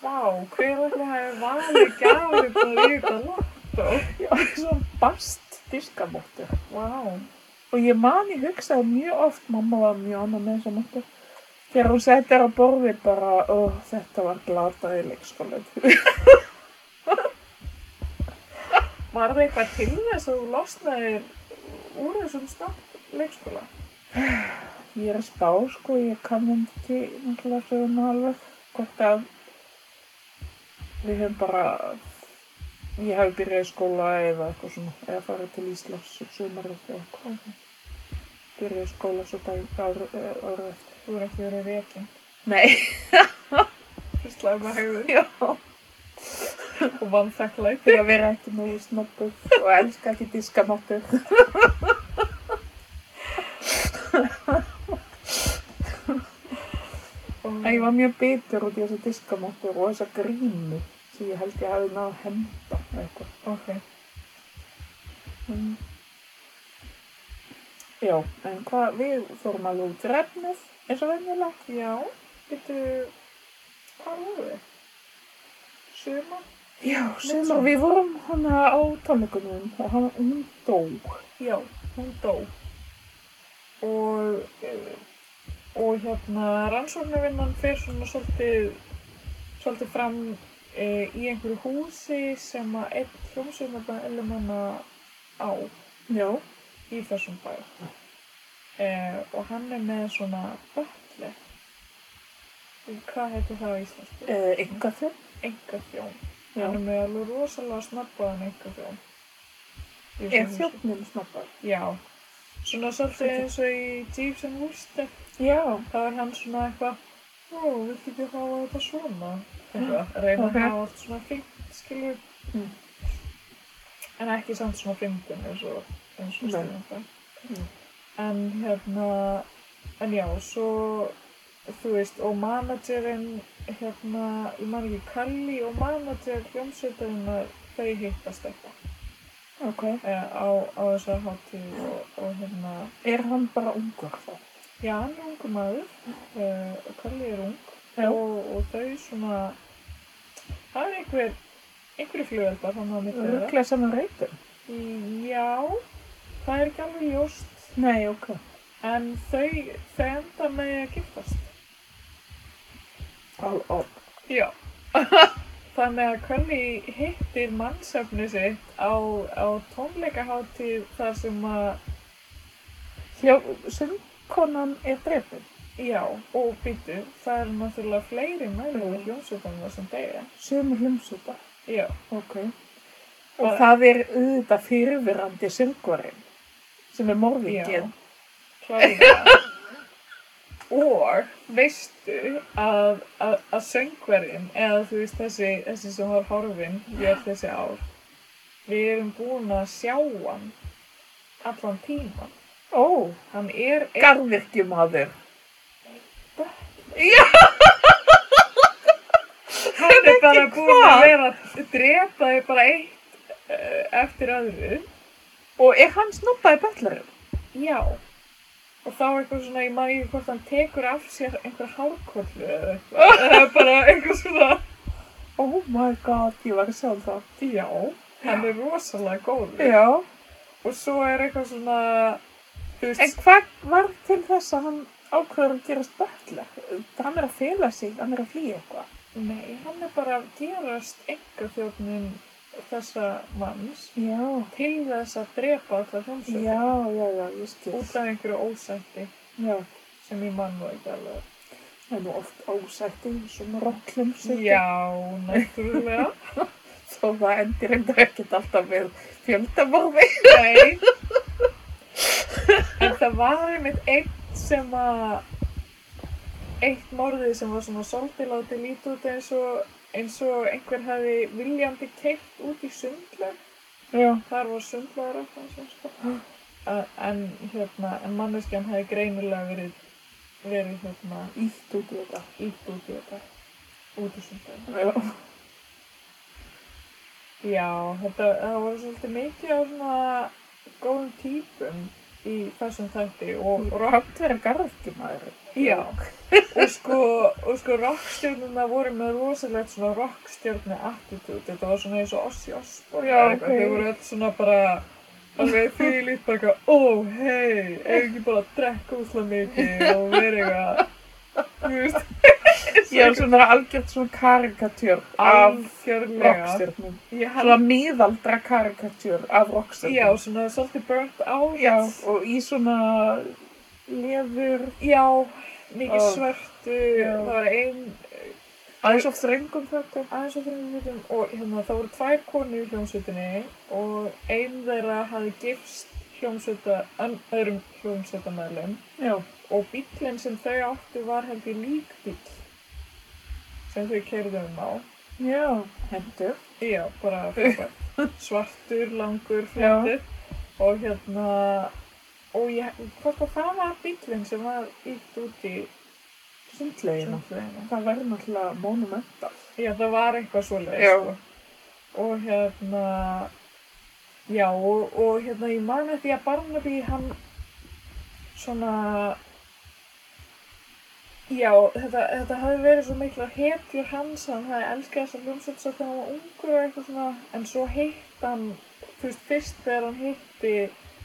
B: Vá, hver ætli að hafa valið gafið bara í þetta lottó?
A: Ég var svona bast diskamóttur.
B: Vá.
A: Og ég man, ég hugsaði mjög oft, mamma var mjög annað með þessa móttur. Þegar hún setti þér á borði bara, ó, þetta var sko, glataði leikskólan.
B: Var það eitthvað til þess að þú losnaðir úr þessum snabbt leikskóla?
A: Ég er að spá, sko, ég kann ekki náttúrulega söguna alveg hvort að við höfum bara ég hafi byrjað í skóla eða eitthvað svona, eða farið til Íslands sumarið eða eitthvað
B: Okay.
A: byrjað í skóla svo dag árið ári eftir
B: Þú er ekki verið rekin.
A: Nei,
B: Þú slæði með hegður.
A: já
B: Og vann þakklæg.
A: fyrir að vera ekki nógu snobbuð og elska ekki diskamáttur en ég var mjög bitur út í þessa diskamáttur og þessa grímu sem ég held ég hafi náð að henda eða eitthvað
B: Ok.
A: Mm. Já, en hvað, við fórum alveg út í refnið, eins og venjulega,
B: Já, getur Hvað voru þið? Sjöma?
A: Já,
B: sumar.
A: sumar, við vorum hana á tónleikunum og hann, hún dó.
B: Já, hún dó. Og, eh, og hérna rannsóknarvinnan fer svona svolítið, svolítið fram e, í einhverju húsi sem að einn hljómsveitarna elemanna á
A: Já,
B: í þessum bæ. E, og hann er með svona böllu. Hvað heitir það á íslensku?
A: eh, enga þeim.
B: Enga þjón.
A: Já,
B: Hann er með alveg rosalega snabbaðan enga þjón.
A: er þjófnum snabbar.
B: Já, svona svolítið eins og í Jeeves and Woolster,
A: Já,
B: þá er hann svona eitthvað, ó, við getum hafa þetta svona, eitthvað, reyna
A: Ok.
B: að hafa allt svona fínt, skilju,
A: Mm.
B: en ekki samt svona fyndin eins og, eins og
A: Nei.
B: stundar.
A: Mm.
B: En hérna, en já, svo, þú veist, og managerinn, hérna, ég man ekki, Kalli og manager hljómsveitarinnar, þau hittast eitthvað
A: ok.
B: eh, á, á þessar hátíð og, og hérna,
A: Er hann bara ungur þá?
B: Já, hann er ungu maður, uh, Kalli er ung
A: Já.
B: og, og þau svona, það er einhver, einhverju flugöldar hann á milli þeirra.
A: Ruglega saman reytum?
B: Já, það er ekki alveg ljóst,
A: Nei, ok.
B: en þau, þau enda með að giftast.
A: Á, á.
B: Já. Þannig að Kölli hittir mannsöfnu sitt á, á tónleikaháttíð þar sem að,
A: Hjá, söngkonan er drefin.
B: já, og býtu, það eru náttúrulega fleiri mæður
A: Mm.
B: mm. hljómsveitarnar sem deyja.
A: Sömu hlumsúpa.
B: Já,
A: Ok. Og
B: Og-
A: það er auðvitað fyrirverandi söngurinn sem er morðingin.
B: klálega. og veistu að, að, að söngverðin, eða þú veist þessi, þessi sem var horfin hér þessi ár, við erum búin að sjá hann allan tíman.
A: Ó,
B: Hann er einn
A: garðvirkjumadur.
B: Hann er bara búin
A: hvað?
B: að vera að drepa þau bara eitt uh, eftir öðru.
A: Og er hann snoppaði betlarum?
B: Já. Og þá eitthvað svona, ég maður ekki hvort hann tekur af sér einhver hárkollu eða eitthvað. Eða bara einhver svona,
A: Oh my god, ég var að sjá það.
B: já, hann er rosalega góður.
A: Já.
B: Og svo er eitthvað svona, þú
A: En
B: veist,
A: hvað var til þess að hann ákveður að gerast betlar? Hann er að fela sig, hann er að flýja eitthvað.
B: nei, hann er bara að gerast einhver þjófnum þessa manns
A: Já.
B: til þess að drepa allar hljómsveit
A: Já, já, já, ég skil.
B: út af einhverju ósætti
A: Já.
B: sem ég mann og ekki alveg.
A: Það er nú oft ásætti, svona rottlum
B: Já, náttúrulega.
A: Svo það endir enda ekkert alltaf með fjöldamorfi.
B: Nei. En það var einmitt eitt sem að eitt morðið sem var svona svolítið látið lítið út eins og eins og einhver hefði viljandi keitt út í sundlög
A: Já.
B: þar var sundlögur af þessu sko. Að- en hérna en manneskjan hefði greinilega verið verið hérna
A: Ítt út í þetta.
B: ítt út í þetta út í sundlög
A: Já.
B: Já, þetta það voru svolítið mikið af svona góðum típum í þessum þætti og
A: Og
B: rock,
A: rátt verið garðkjumadur.
B: já, og sko, og sko rockstjörnuna voru með rosalegt svona rockstjörnu attitút, þetta var svona eins og Ossi Osborn,
A: Já,
B: eða eitthvað.
A: ok.
B: þau voru öll svona bara, alveg því lít bara eitthvað, ó hei, eigum ekki bara að drekka úslega mikið og vera eitthvað, þú veist,
A: Já, svona algjört svona karikatjör af
B: algjörlega,
A: rockstjörnum.
B: ég
A: Svona
B: held,
A: miðaldra karikatjör af rockstjörnum.
B: já, svona svolítið burnt out,
A: Já, og í svona lefur,
B: Já, mikið
A: Ó.
B: svörtu,
A: Já.
B: það var ein,
A: aðeins of þrengum þetta.
B: aðeins á þrjum hlutum og hérna það voru tvær konur í hljómsveitinni og ein þeirra hafði gifst hljómsveita, ann- öðrum hljómsveitamæðlum
A: Já.
B: og bíllinn sem þau áttu var held ég líkbíll sem þau keirðu um á.
A: Já. Hendur.
B: Já, bara frábært. svartur, langur,
A: Já.
B: flottur og hérna, og ég, hvort að það var bíllinn sem var ítt út í
A: Sundleginu.
B: hljómsveitina.
A: Það verður náttúrulega monumental.
B: Já, það var eitthvað svoleiðis,
A: Já.
B: sko. Og hérna, já, og, og hérna, ég man eftir að Barnaby, hann svona, já, þetta, þetta hafði verið svo mikla hetjur hans, hann hafði elskað þessar hljómsveit svo þegar hann var ungur og eitthvað svona, en svo hitt hann, þú veist, fyrst þegar hann hitti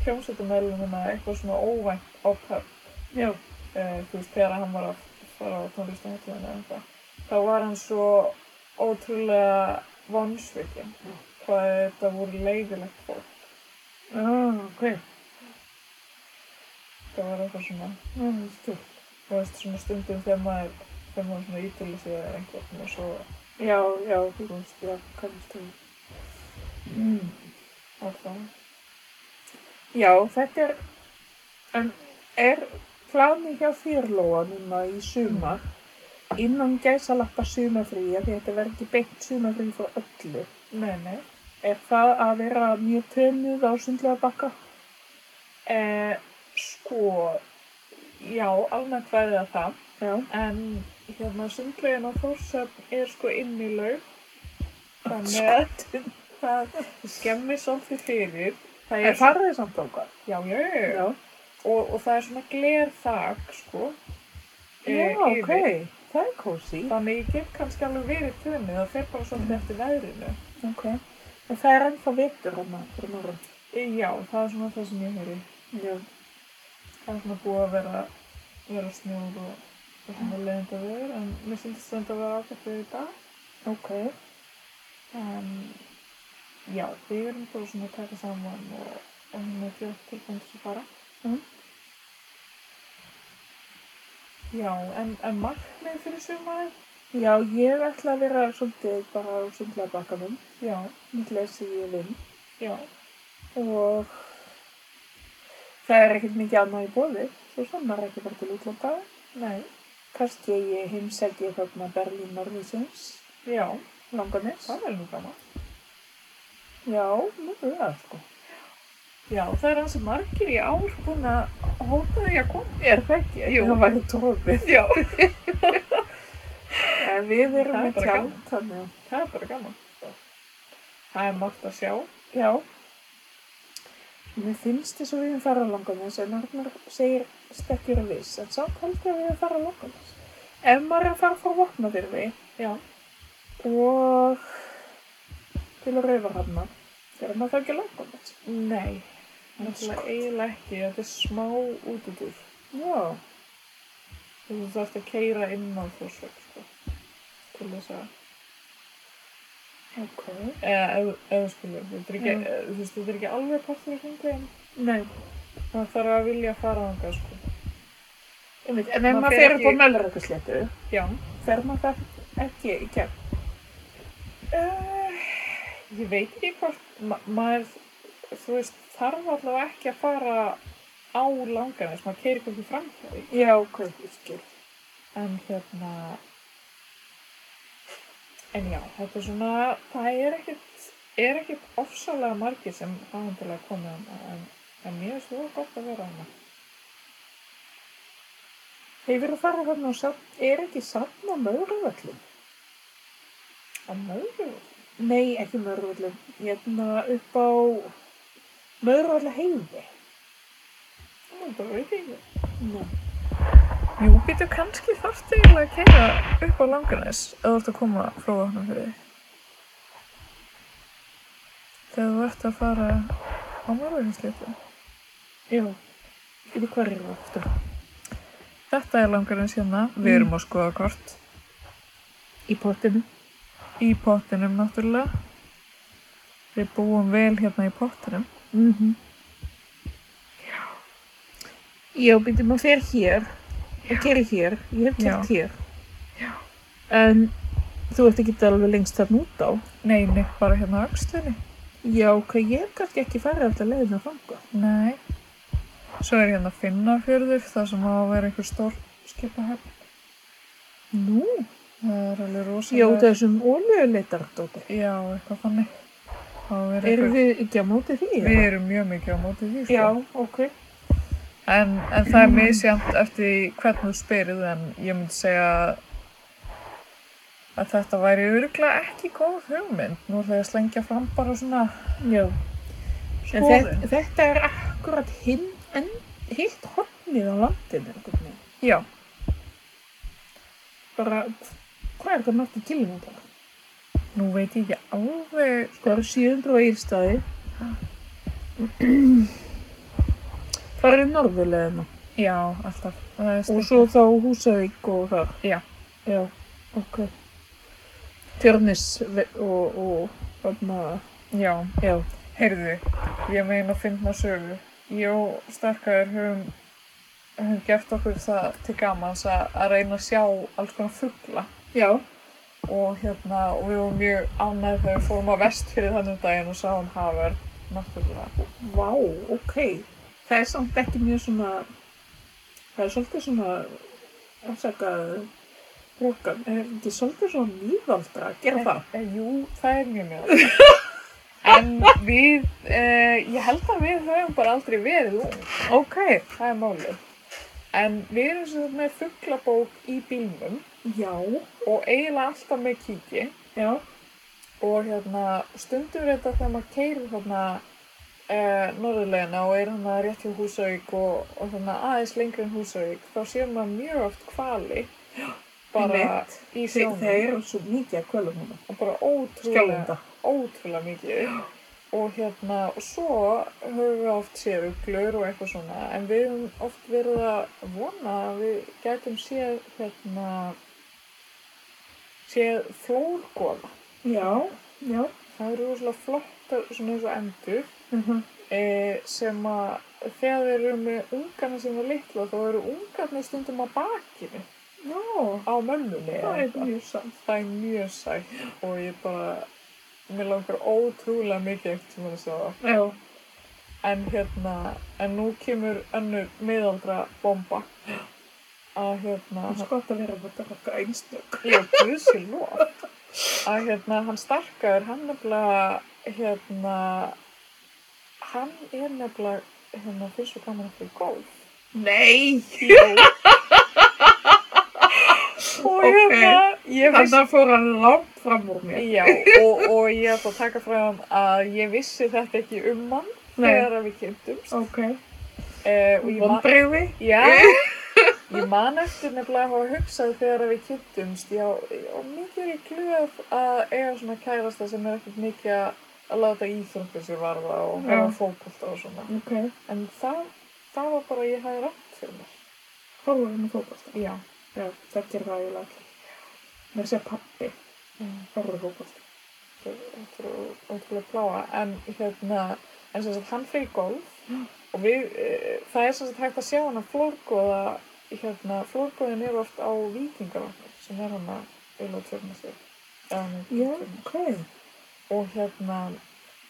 B: hljómsveitamælunina eitthvað svona óvænt á pöpp
A: Já.
B: uh, þú veist, þegar hann var að fara á tónlistahátíðan eða eitthvað þá var hann svo ótrúlega vonsvikið hvað þetta voru leiðilegt fólk
A: Já, Ah, ok.
B: það var eitthvað svona,
A: Já, það skil.
B: þú veist, svona stundum þegar maður þegar maður svona ítölu sig eða einhvern og svo
A: Já, já, þú veist, já, kannast þú. Mm.
B: alltaf
A: Já, þetta er, en er plani hjá fyrlóa núna í sumar innan gæsalappa sumafrí, af því þetta verður ekki beint sumafrí frá öllu.
B: nei, nei
A: Er það að vera mjög tönuð á sundlega bakka?
B: eh, sko, já, almennt væri það það
A: Já.
B: en hérna sundlegin á Þórsöfn er sko inn í laug þannig að það skemmir svolítið fyrir það
A: Er
B: er svo
A: farðið samt okkar?
B: Já, já, já, já.
A: Já.
B: Og, og það er svona glerþak, sko.
A: Já,
B: eh,
A: ok.
B: yfir.
A: Það er kósi.
B: Þannig ég get kannski alveg verið tunni, það fer bara svolítið eftir veðrinu.
A: Ok. En það er ennþá vetur hann að fyrir morgun.
B: E, Já, það er svona það sem ég heyri.
A: Já.
B: Það er svona búið að vera, vera snjóð og, og svona leiðinda veður, en mér syndist þetta að vera ákvæmt við í dag.
A: Ok.
C: en já, við erum bara svona að taka saman og, og
B: hérna
C: hún er fljótt tilbúin til að fara
B: Mhm.
C: Já, en, en markmið fyrir sumarið?
A: Já, ég ætla að vera svolítið bara á sundlega bakkanum.
C: Já,
A: Mikið sem ég vinn.
C: já,
A: Og það er ekkert mikið annað í bóði. Svo svona er ekki bara til útlanda.
C: nei,
A: Kannski ég heimsæki þarna Berlín Norðvísins.
C: já,
A: Langanis.
C: það er nú gaman.
A: Já, mjög vel það sko.
C: Já, það er hansi margir í ár búin að hóta því að koma.
A: Er það ekki?
C: Jú.
A: Það væri trófið.
C: Já,
A: En við
C: Það
A: erum
C: er
A: með
C: bara
A: tjátt, þannig að...
C: það er bara gaman. Það er margt að sjá.
A: Já. Mér finnst þess að við erum fara á langanis, en Arnar segir stekkjur að viss. En samt heldur að við erum fara á langanis. Ef maður er að fara frá Vopnafyrði
C: Já,
A: og til að rauða hana, þegar maður það ekki langanis.
C: nei, náttúrulega eiginlega ekki. Þetta er smá útudúr.
A: Já.
C: Þú þarfst að keira inn á fórsvöld, sko. Til þess að,
A: Ok.
C: eða, eða, eða skilur, þetta er ekki,
A: Já.
C: eh, þú veist, þetta er ekki alveg partur í hringið, en
A: Nei.
C: það þarf að vilja fara þangað, sko.
A: En ef maður,
C: fer
A: fer
C: ekki-
A: upp á Möllurökkusléttu,
C: Já,
A: fer maður það ekki í gegn.
C: uh, ég veit ekki hvort, ma maður, þú veist, þarf allavega ekki að fara á langan, þess maður keiri hvernig framhjáði.
A: Já, ok, ég skil.
C: En hérna, en já, þetta er svona, það er ekkert, er ekkert ofsalega margir sem aðhendilega komið hana, en, en mér er svo gott að vera hana.
A: Hefur verið að fara hérna og safn, er ekki safn á Möðruvöllum?
C: Á mögulegum?
A: Nei, ekki Möðruvöllum, hérna upp á Möðruvölla heiði.
C: Það veit ég ekki.
A: Nú,
B: Jú, býtu kannski þarftu eiginlega að keira upp á langanæs eða þú ert að koma frá vatnum fyrir þegar þú ert að fara á morgunslítu.
A: já, við hvað erum við aftur?
B: Þetta er langanæs hérna,
A: Mm.
B: við erum á skoðakort
A: Í pottinu.
B: í pottinum náttúrulega. Við búum vel hérna í pottinum.
A: Mm -hmm. Já, býtum að fer hér, að keri hér, ég hef kert hér. Já. En þú ert ekki alveg lengst þarna út á.
B: Nei, nei, bara hérna á öxlinni.
A: Já, ok, ég hef kannski ekki farið alltaf leiðin að fanga.
B: Nei. Svo er hérna Finnafjörður, það sem á að vera einhver stór skipahöfn.
A: Nú,
B: Það er
A: já,
B: alveg rosalega.
A: þessum óleuleitar, Dóti.
B: Já, eitthvað þannig. Það á að vera
A: Erum
B: einhver-
A: við ekki á móti því?
B: Við erum mjög mikið á móti því, sko.
A: Já, ok.
B: En, en það er misjæmt eftir því hvernig þú spyrir, en ég myndi segja að þetta væri örgulega ekki góð hugmynd. Nú ætla ég að slengja fram bara svona
A: Já. En
B: skoðun.
A: þetta, þetta er akkurat hinn en hitt hornið á landinu, einhvern veginn.
B: Já,
A: Bara, hvað er þetta náttúrulega kilómetrar?
B: nú veit ég ekki alveg,
A: Sko, það eru 700 á Írstaði. Það eru norðurleðina.
B: já, alltaf. Það er
A: Og
B: stytt-
A: svo þá Húsavík og þar.
B: Já.
A: Já, ok. Tjörnis ve- og, og, þarna,
B: Já,
A: já.
B: heyrðu, ég meina að finna sögu. Ég og starkaður höfum, höfum gert okkur það til gamans að, að reyna að sjá alls konar fugla.
A: Já.
B: og hérna, og við vorum mjög ánægð þegar við fórum á vest fyrir þannig daginn og sáum hafverð náttúrulega.
A: Vá, ok. Það er samt ekki mjög svona, það er svolítið svona, afsakað, brókan, er ekki svolítið svona nývaldra að gera það?
B: E, jú, það er mjög mjög. En við, e, ég held að við höfum bara aldrei verið ung,
A: Ok.
B: það er málið. En við erum sem sagt með fuglabók í bílnum
A: Já,
B: og eiginlega alltaf með kíki
A: já,
B: og hérna stundum reynda þegar maður keirir þarna e, norðurlegina og er hérna rétt hjá Húsavík og, og þannig aðeins lengri en Húsavík þá sér maður mjög oft hvali bara
A: Einmitt.
B: í
A: Þe,
B: sjónum
A: það eru svo mikið að kvöla núna.
B: og bara ótrúlega,
A: Skjálunda.
B: ótrúlega mikið og hérna og svo höfum við oft séð uglur og eitthvað svona en við höfum oft verið að vona að við gætum séð hérna séð flórgóða
A: Já, Já.
B: Það eru rosalega flottar svona eins og endur
A: Uh -huh.
B: e, sem að þegar þeir eru með ungarna sem eru litla þá eru ungarna stundum á bakinu
A: Já,
B: á mömmunni eða
A: það er
B: eitthvað.
A: mjög samt.
B: það er mjög sætt og ég bara mér langar ótrúlega mikið eftir sem að sjá það
A: Já.
B: en hérna en nú kemur önnur miðaldra bomba að hérna
A: Það er gott að vera búin að taka einstök.
B: Já, guðsi lof. Að hérna, hann starkaður, hann nefnilega, hérna, hann er nefnilega, hérna, fyrir svo gaman að fyrir golf.
A: Nei!
B: Og
A: Ok,
B: hérna, ég
A: Þannig
B: vissi,
A: að fóra langt fram úr mér.
B: já, og, og ég ætla að taka fram að ég vissi þetta ekki um hann
A: Nei.
B: þegar að við kynntumst.
A: Ok.
B: Eh, og ég man,
A: Vondriði?
B: já, ég man eftir nefnilega að hafa hugsað þegar að við kynntumst, já, og mikið er ég glöð að eiga svona kærasta sem er ekkert mikið að- að láta íþröngu sér varða og
A: Já.
B: hafa fókbalta og svona.
A: Ok.
B: En það, það var bara að ég hafði rátt fyrir mér.
A: Háður hann að fókbalta.
B: Já.
A: Já, það gerir það eiginlega allir. Mér sé pappi. Háður fókbalta.
B: Mm. Þetta er ótrúlega pláa. En hérna, en sem sagt hann fyrir golf og við, e, það er sem sagt hægt að sjá hann að flórgóða, hérna, flórgóðin eru oft á vikingarvatni sem er hann að ylva tjörna sig. Já,
A: Já, ok.
B: Og hérna,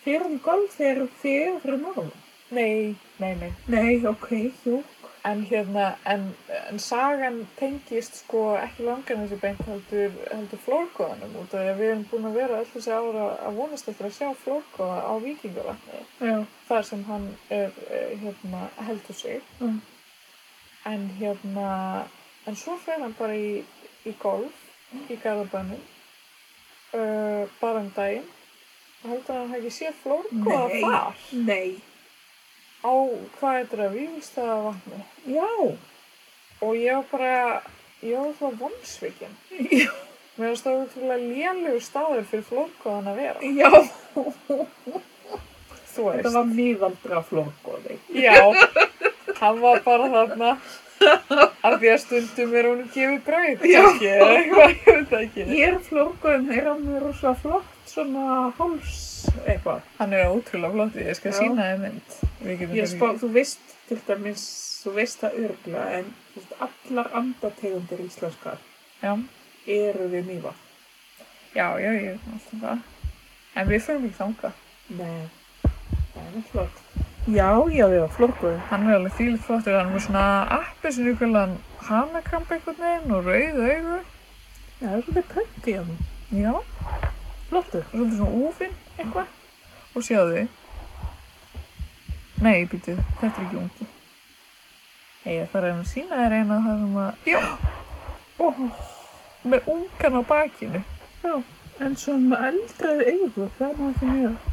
A: Þið eru í golf þegar þið eru nála.
B: nei, nei, nei.
A: Nei, ok, jú.
B: En hérna, en, en sagan tengist sko ekki langan þessi beint heldur, heldur flórgóðanum út af því að við erum búin að vera öll þessi ára að vonast eftir að sjá flórgóða á vikingavatni
A: Já.
B: þar sem hann er, eh, hérna, heldur sig.
A: Mm.
B: En hérna, en svo fer hann bara í, í golf í Garðabænum, uh, bara um daginn og heldur að hann hafi ekki séð flórgóða
A: Nei.
B: þar
A: Nei.
B: á hvað er þetta, Vífustæðavatni.
A: Já.
B: Og ég var bara, ég var alltaf vonsvikin.
A: Já.
B: Mér finnst það útrúlega lélugur staður fyrir flórgóðan að vera.
A: Já.
B: Þú
A: Þetta
B: veist.
A: var mýðaldra flókóði.
B: Já, hann var bara þarna af því að stundum er hún gefið brauð.
A: Já.
B: kannski, eða Eitthvað, ég veit það ekki.
A: Ég er flókóðin, þeir eru mér rosa flott svona háls eitthvað.
B: Hann er ótrúlega flott, ég skal
A: Já.
B: sína þið mynd. Við getum
A: Ég
B: kannski-
A: spá, þú veist til dæmis, þú veist það örgla en þú veist, allar andategundir íslenskar
B: Já,
A: eru við mýva.
B: já, já, ég veit alltaf það. En við förum ekki þangað.
A: Nei, það er flott. Já, já, já, florkuðu.
B: Hann er alveg þýlið flottur, hann er með svona appi sem ykkurlegan hanakramp einhvern veginn og rauð augu.
A: Já, það er svolítið pönti í hann.
B: Já.
A: Flottu.
B: svolítið svona úfinn eitthvað og sjáðu nei, býtu, þetta er ekki ungi Nei, ég þarf að sína þér eina það sem að já,
A: Ó,
B: með ungan á bakinu
A: já, en svona með eldraði augu, það er maður ekki mjög.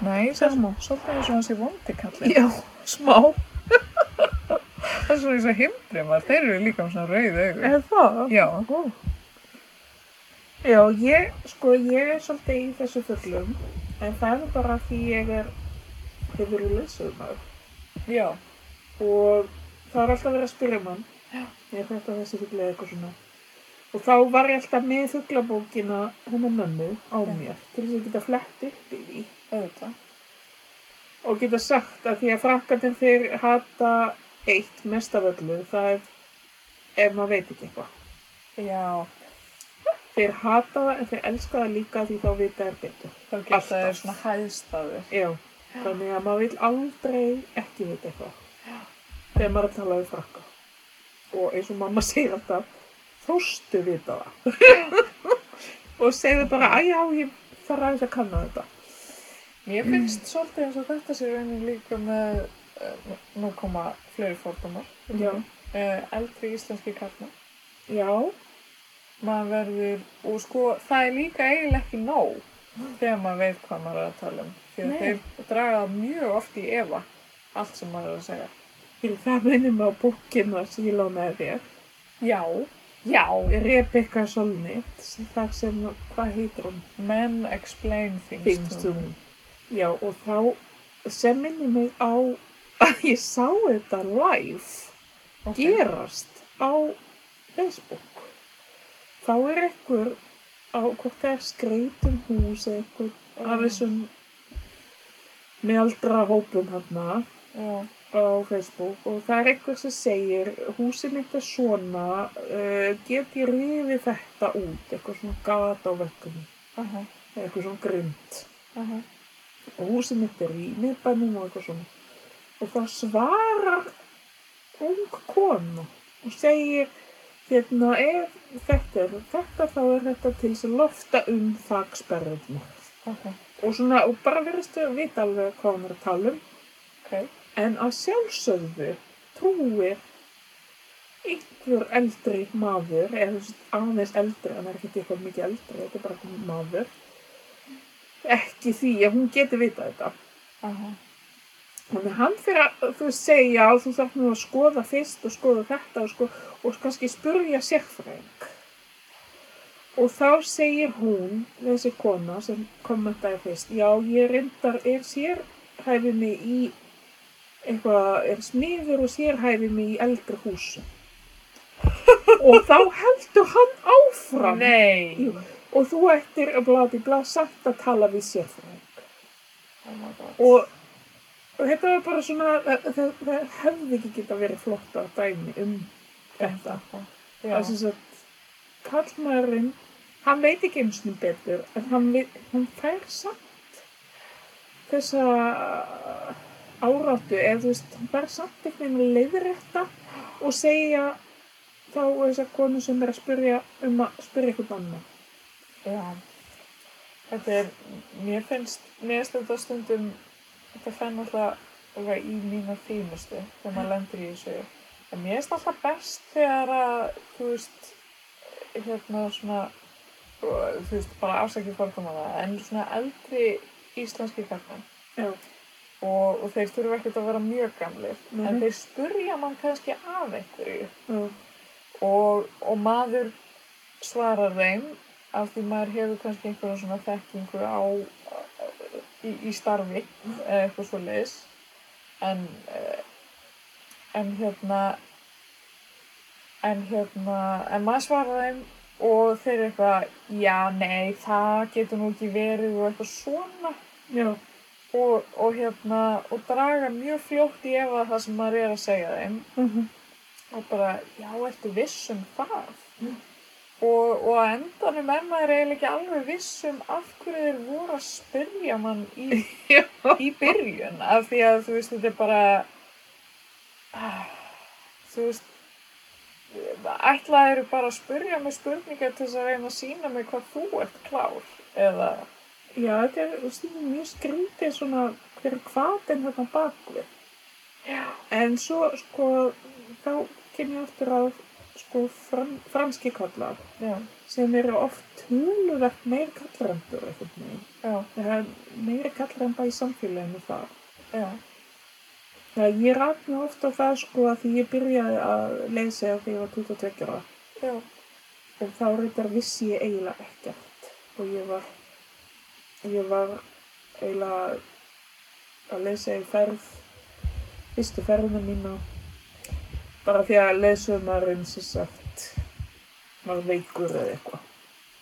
B: nei, það er
A: Sama.
B: svolítið eins og hans er vondi kallið
A: Já, smá.
B: það er svona eins og himbrumar, þeir eru líka með svona rauð augu
A: Er það?
B: já,
A: Ó. Já, ég, sko, ég er svolítið í þessu fullum, en það er bara því ég er, hefur verið leysumar.
B: já,
A: og það var alltaf verið að spyrja mann ég er þetta þessi fugla eða eitthvað svona og þá var ég alltaf með fuglabókina hennar mömmu á
B: Já.
A: mér til þess að geta flett upp í því
B: auðvitað
A: og geta sagt að því að frakkandinn þeir hata eitt mest af öllu það er ef maður veit ekki eitthvað
B: já,
A: þeir hata það en þeir elska það líka því þá vita þær betur
B: þá geta
A: Alltaf.
B: þeir svona hæðstafir
A: Já. þannig að maður vil aldrei ekki vita eitthvað þegar maður er að tala við frakka og eins og mamma segir alltaf þóstu vita það og segðu bara að já, ég þarf aðeins að kanna þetta
B: Mér finnst svolítið eins og þetta sé raunin líka með, eh, nú koma fleiri fordómar,
A: já,
B: uh, eldri íslenski karlmenn.
A: já,
B: maður verður og sko það er líka eiginlega ekki nóg þegar maður veit hvað maður er að tala um því að
A: Nei.
B: þeir draga það mjög oft í efa allt sem maður er að segja
A: fyrir það minnum á bókinu sem ég lána með þér
B: já, já
A: Rebecca Solnit sem það sem, hvað heitir hún?
B: men explain things,
A: finnst
B: to
A: hún já, og þá sem minnum mig á að ég sá þetta live
B: Ok.
A: gerast á Facebook þá er einhver á hvort það er skreitum hús eða eitthvað
B: Já.
A: af þessum mealdra hópum hérna
B: já,
A: á Facebook og það er eitthvað sem segir húsin mitt er svona uh, get ég rifið þetta út eitthvað svona gata á vekkunni
B: aha,
A: eða eitthvað svona grimt
B: aha,
A: og húsin mitt er í miðbænum og eitthvað svona og það svarar ung kona og segir hérna ef þetta er þetta þá er þetta til þess að lofta um þaksperðinu
B: ok,
A: og svona og bara veristu að vita alveg hvað hann er að tala um
B: ok,
A: en að sjálfsögðu trúir einhver eldri maður eða þú veist, aðeins eldri en það er ekki eitthvað mikið eldri þetta er bara einhver maður ekki því að hún geti vitað þetta
B: aha,
A: Þannig að hann fyrir að þú veist, segja að þú þarf nú að skoða fyrst og skoða þetta og, sko, og kannski spurja sérfræðing. Og þá segir hún, þessi kona sem kommentaði fyrst, já ég reyndar er sérhæfi mig í eitthvað, er smiður og sérhæfi mig í eldri húsum. og þá heldur hann áfram
B: nei,
A: Jú, og þú ættir að bladi blað sagt að tala við sérfræðing
B: oh my god,
A: og og þetta var bara svona það, það, það hefði ekki geta verið flott að dæmi um þetta
B: já,
A: það sem sagt kallmaðurinn, hann veit ekki einu sinni betur en hann, veit, hann fær samt þessa áráttu eða þú veist, hann fær samt einhvern veginn leiðrétta og segja þá þess að konu sem er að spyrja um að spyrja eitthvað annað
B: já, þetta er, mér finnst, mér finnst þetta stundum, þetta fenn alltaf alveg í mína þínustu þegar maður lendur í þessu, en mér finnst alltaf best þegar að, þú veist, hérna svona, og, þú veist, bara afsakið fordóma það, en svona eldri íslenski kallmenn,
A: Já,
B: og, og þeir þurfa ekkert að vera mjög gamlir
A: Nei.
B: en þeir spurja mann kannski af einhverju
A: já,
B: og, og maður svarar þeim af því maður hefur kannski einhverja svona þekkingu á í, í starfi eða eitthvað svo leis en eh, en hérna en hérna en maður svarar þeim og þeir eru eitthvað, já, nei, það getur nú ekki verið og eitthvað svona
A: já,
B: og, og hérna og draga mjög fljótt í efa það sem maður er að segja þeim
A: mhm,
B: og bara, já, ertu viss um það og, og að endanum er maður eiginlega ekki alveg viss um af hverju þeir voru að spyrja mann í,
A: Já.
B: í byrjun af því að þú veist, þetta er bara ah, þú veist ætlaði eru bara að spyrja mig spurningar til þess að reyna að sína mig hvað þú ert klár eða,
A: já, þetta er þú veist, mjög skrítið svona hver er hvatinn þarna bakvið
B: já,
A: En svo, sko, þá kem ég aftur að, sko, fran, franski kallar
B: já,
A: sem eru oft huluvert meiri kallarendur, eitthvað meginn.
B: já,
A: Það er meiri kallarenda í samfélaginu þar.
B: já,
A: Það ég rætt mjög oft á það, sko, að því ég byrjaði að leysa þegar ég var 22 ára
B: já.
A: og þá reyndar vissi ég eiginlega ekkert og ég var, ég var eiginlega að leysa í ferð, fyrstu ferðina mína bara því að leysumæðurinn sem sagt var veikur eða eitthvað.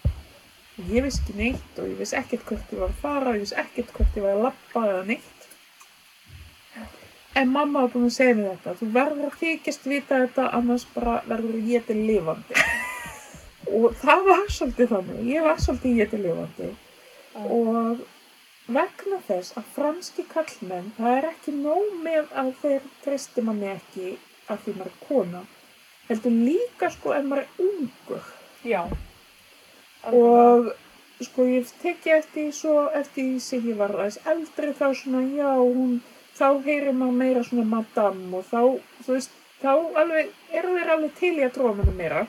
A: Og Ég vissi ekki neitt og ég vissi ekkert hvert ég var að fara, ég vissi ekkert hvert ég var að lappa eða neitt. En mamma var búin að segja mér þetta, þú verður að þykjast vita þetta, annars bara verður ég til lifandi. og það var svolítið þannig, ég var svolítið ég til lifandi.
B: Já.
A: Og vegna þess að franski kallmenn, það er ekki nóg með að þeir treysti manni ekki að því maður er kona heldur líka sko ef maður er ungur
B: Já. Og...
A: og sko ég teki eftir því svo eftir því sem ég var aðeins eldri þá svona já hún þá heyrir maður meira svona madame og þá þú veist þá alveg eru þeir alveg til í að tróða manni meira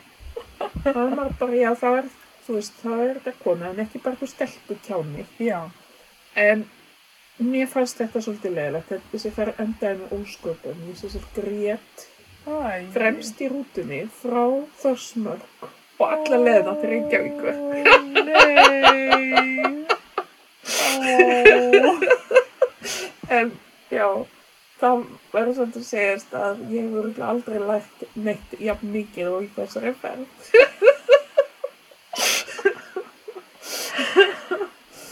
A: þá er maður bara já þá er þú veist þá er þetta kona en ekki bara eitthvað stelpu kjáni
B: Já.
A: En mér fannst þetta svolítið leðilegt, þessi fer endaði með ósköpum. Ég sem sagt grét
B: Æ.
A: fremst í rútunni frá Þorsmörk og alla leðina til Reykjavíkur.
B: Ó, nei. Ó.
A: En já, það verður svolítið að segjast að ég hef örugglega aldrei lært neitt jafn mikið og í þessari ferð.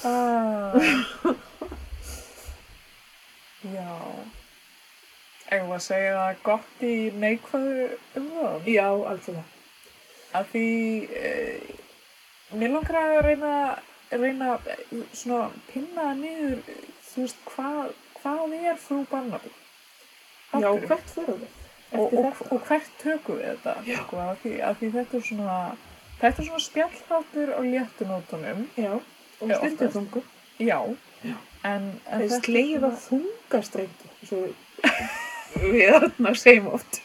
B: Ah. að segja það gott í neikvæðu umvöðum.
A: Já, algjörlega.
B: Af því, eh, mér langar að reyna, reyna eh, svona pinna niður, eh, þú veist, hvað, hvað er frú Barnaby? Af
A: Já,
B: hverju?
A: hvert fyrir við?
B: og,
A: Eftir
B: og,
A: þetta?
B: og hvert tökum við þetta?
A: Já.
B: Sko, af því, af því þetta er svona, þetta er svona spjallháttur á léttunótunum.
A: Já, og
B: Já,
A: stundum þungu.
B: Já. En, en
A: Það er
B: þetta
A: slegið á
B: svona-
A: þungastrengi, svo við þarna segjum oft.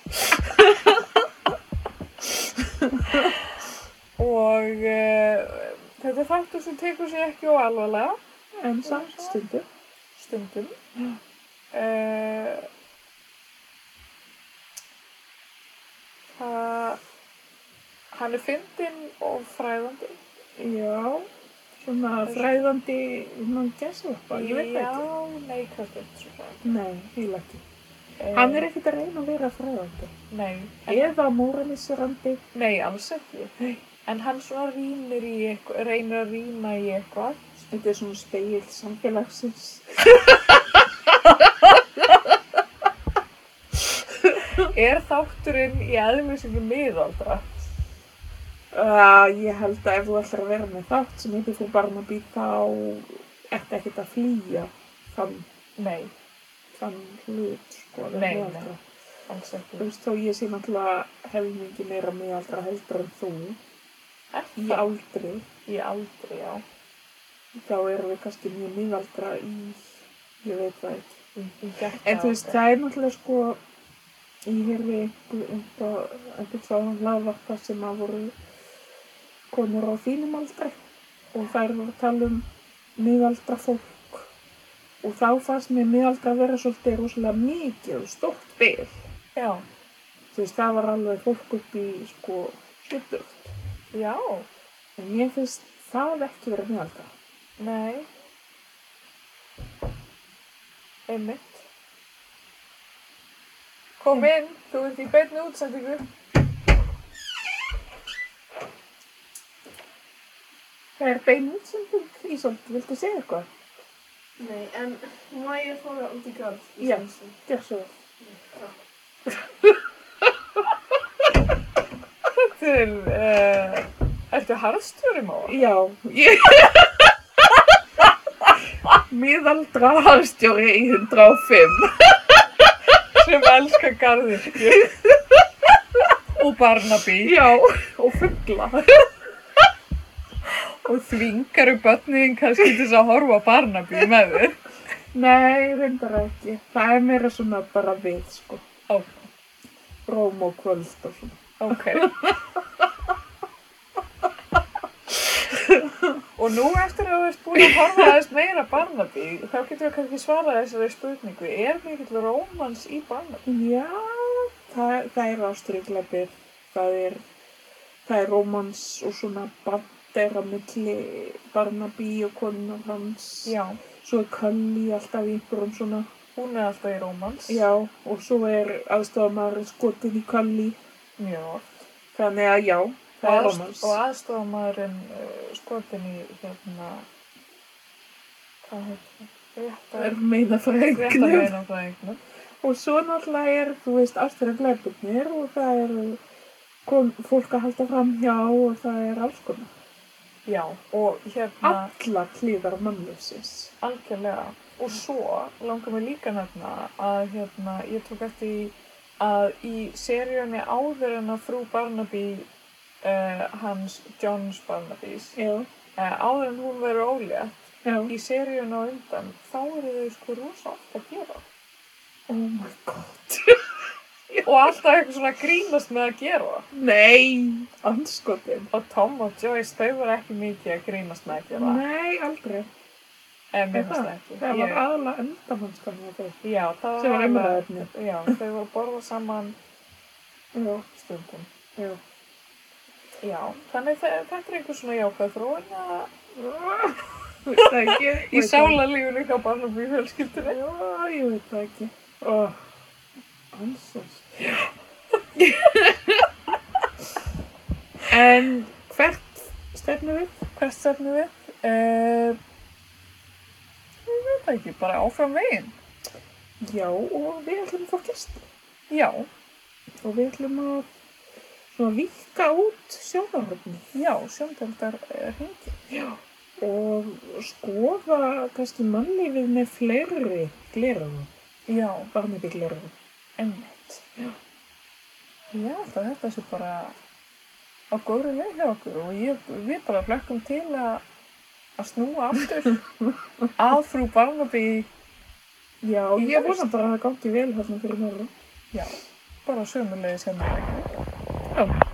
B: Og uh, þetta er þáttur sem tekur sér ekki og alvarlega
A: En samt stundum.
B: stundum. Uh, það, hann er fyndinn og fræðandi.
A: Já, svona fræðandi mann gesalappa, ég veit það ekki.
B: Já, nei, sko. hvað er þetta?
A: Nei, heila ekki. Eh. Hann er ekkert að reyna að vera fræðandi.
B: Eh, Nei, en,
A: Eða móraliserandi.
B: nei, alls ekki.
A: Nei.
B: En hann svona rýnir í eitthvað, reynir að rýna í eitthvað.
A: Þetta er svona speil samfélagsins.
B: Er þátturinn í aðlum sem er miðaldra?
A: Uh, ég held að ef þú ætlar að vera með þátt sem heitir þú Barnaby þá ertu ekkert að flýja þann,
B: Nei,
A: þann hlut sko. að vera
B: Nei,
A: miðaldra.
B: nei. alls
A: Þú
B: ekki.
A: veist þó ég sé náttúrulega helmingi meira miðaldra heldur en þú
B: Er
A: í
B: það?
A: aldri
B: Í aldri, já.
A: þá erum við kannski mjög miðaldra í ég veit það ekki. En
B: En
A: þú veist það er náttúrulega sko ég heyrði einhver- einhver einhver sáðan hlaðvarpa sem að voru konur á þínum aldri og þær voru að tala um miðaldra fólk og þá fannst mér miðaldra vera svolítið rosalega mikið og stórt bil.
B: Já,
A: Þú veist það var alveg fólk upp í sko sjötugt.
B: já,
A: En mér finnst það ekki verið miðaldra.
B: nei. Einmitt. Kom inn, þú ert í beinni útsendingu.
A: Það er bein útsending, Ísolt, viltu segja eitthvað?
D: Nei, en má ég fara út í garð?
A: Já. Gjör svo. vel.
B: Til, uh, ertu harðstjórum á?
A: Já, ég... Miðaldra harstjóri í 105.
B: Sem elskar garðirkju. Og Barnaby.
A: Já, og fuggla.
B: Og þvingaru börnin kannski til þess að horfa á Barnaby með þér.
A: Nei, reyndar ekki. Það er meira svona bara við, sko.
B: Ó.
A: Róm og kvöld og svona.
B: Ok. Og nú eftir að þú ert búin að horfa aðeins meira Barnaby, þá getur við kannski svarað þessari spurningu. Er mikill rómans í Barnaby?
A: Já, það, það er ástryggleipir. Það er, það er rómans og svona band er á milli Barnaby og konunar hans.
B: Já.
A: Svo er Kalli alltaf í einhverjum svona.
B: Hún er alltaf í rómans.
A: Já, og svo er aðstofamæður skotin í Kalli.
B: Já.
A: Þannig að já, það er
B: Og aðst-
A: romans.
B: Og aðstofamæðurinn uh, skotin í hérna, hvað heitir það?
A: Það er
B: Réttar,
A: meina fræknum.
B: réttar það einhvern.
A: Og svo náttúrulega er, þú veist, ásturinn glæpurnir og það er kom, fólk að halda fram hjá og það er alls konar.
B: Já, og hérna...
A: Alla klíðar mannlöfsins.
B: Algjörlega. Og svo langar mér líka að nefna að hérna, ég tók eftir í að í seríunni áður en að frú Barnaby, uh, hans Johns Barnabys,
A: Já,
B: uh, áður en hún verður ólétt,
A: já.
B: í seríunni á undan, þá eru þau sko rosa oft að gera.
A: Oh my god.
B: Og alltaf eitthvað svona grínast með að gera.
A: Nei, anskotin.
B: Og Tom og Joyce, þau voru ekki mikið að grínast með að gera.
A: Nei, aldrei.
B: En mér
A: Er
B: finnst það ekki.
A: Það var
B: Ég-
A: aðalega endamannskan hjá þeir.
B: Já, það
A: Sem var um
B: alveg-
A: umræðarni.
B: Já, þau voru að borða saman
A: Já,
B: stundum.
A: já.
B: Já, þannig þe- þetta er einhver svona jákvæð þróun að-
A: Þú veist það ekki.
B: í sálarlífunni hjá Barnaby fjölskyldunni.
A: Já, ég veit það ekki. Oh. Ansons. en hvert stefnum við?
B: Hvert stefnum við? Uh, ég veit það ekki, bara áfram veginn.
A: Já, og við ætlum að fá gæst.
B: Já,
A: og við ætlum að svona vikka út sjónarhóttni
B: já, eh, sjóndöldar hringi.
A: og skoða kannski mannlífið með fleiri gleraðu,
B: Já,
A: varmið gleraðu.
B: einmitt. Já, ég held að þetta sé bara á góðri leið hjá okkur og ég, við bara flökkum til að, að snúa aftur að frú Barnaby
A: Já,
B: Í
A: ég
B: haust.
A: vona bara að það gangi vel hérna fyrir norðan.
B: bara sömulegið sem er ekki.
A: Já.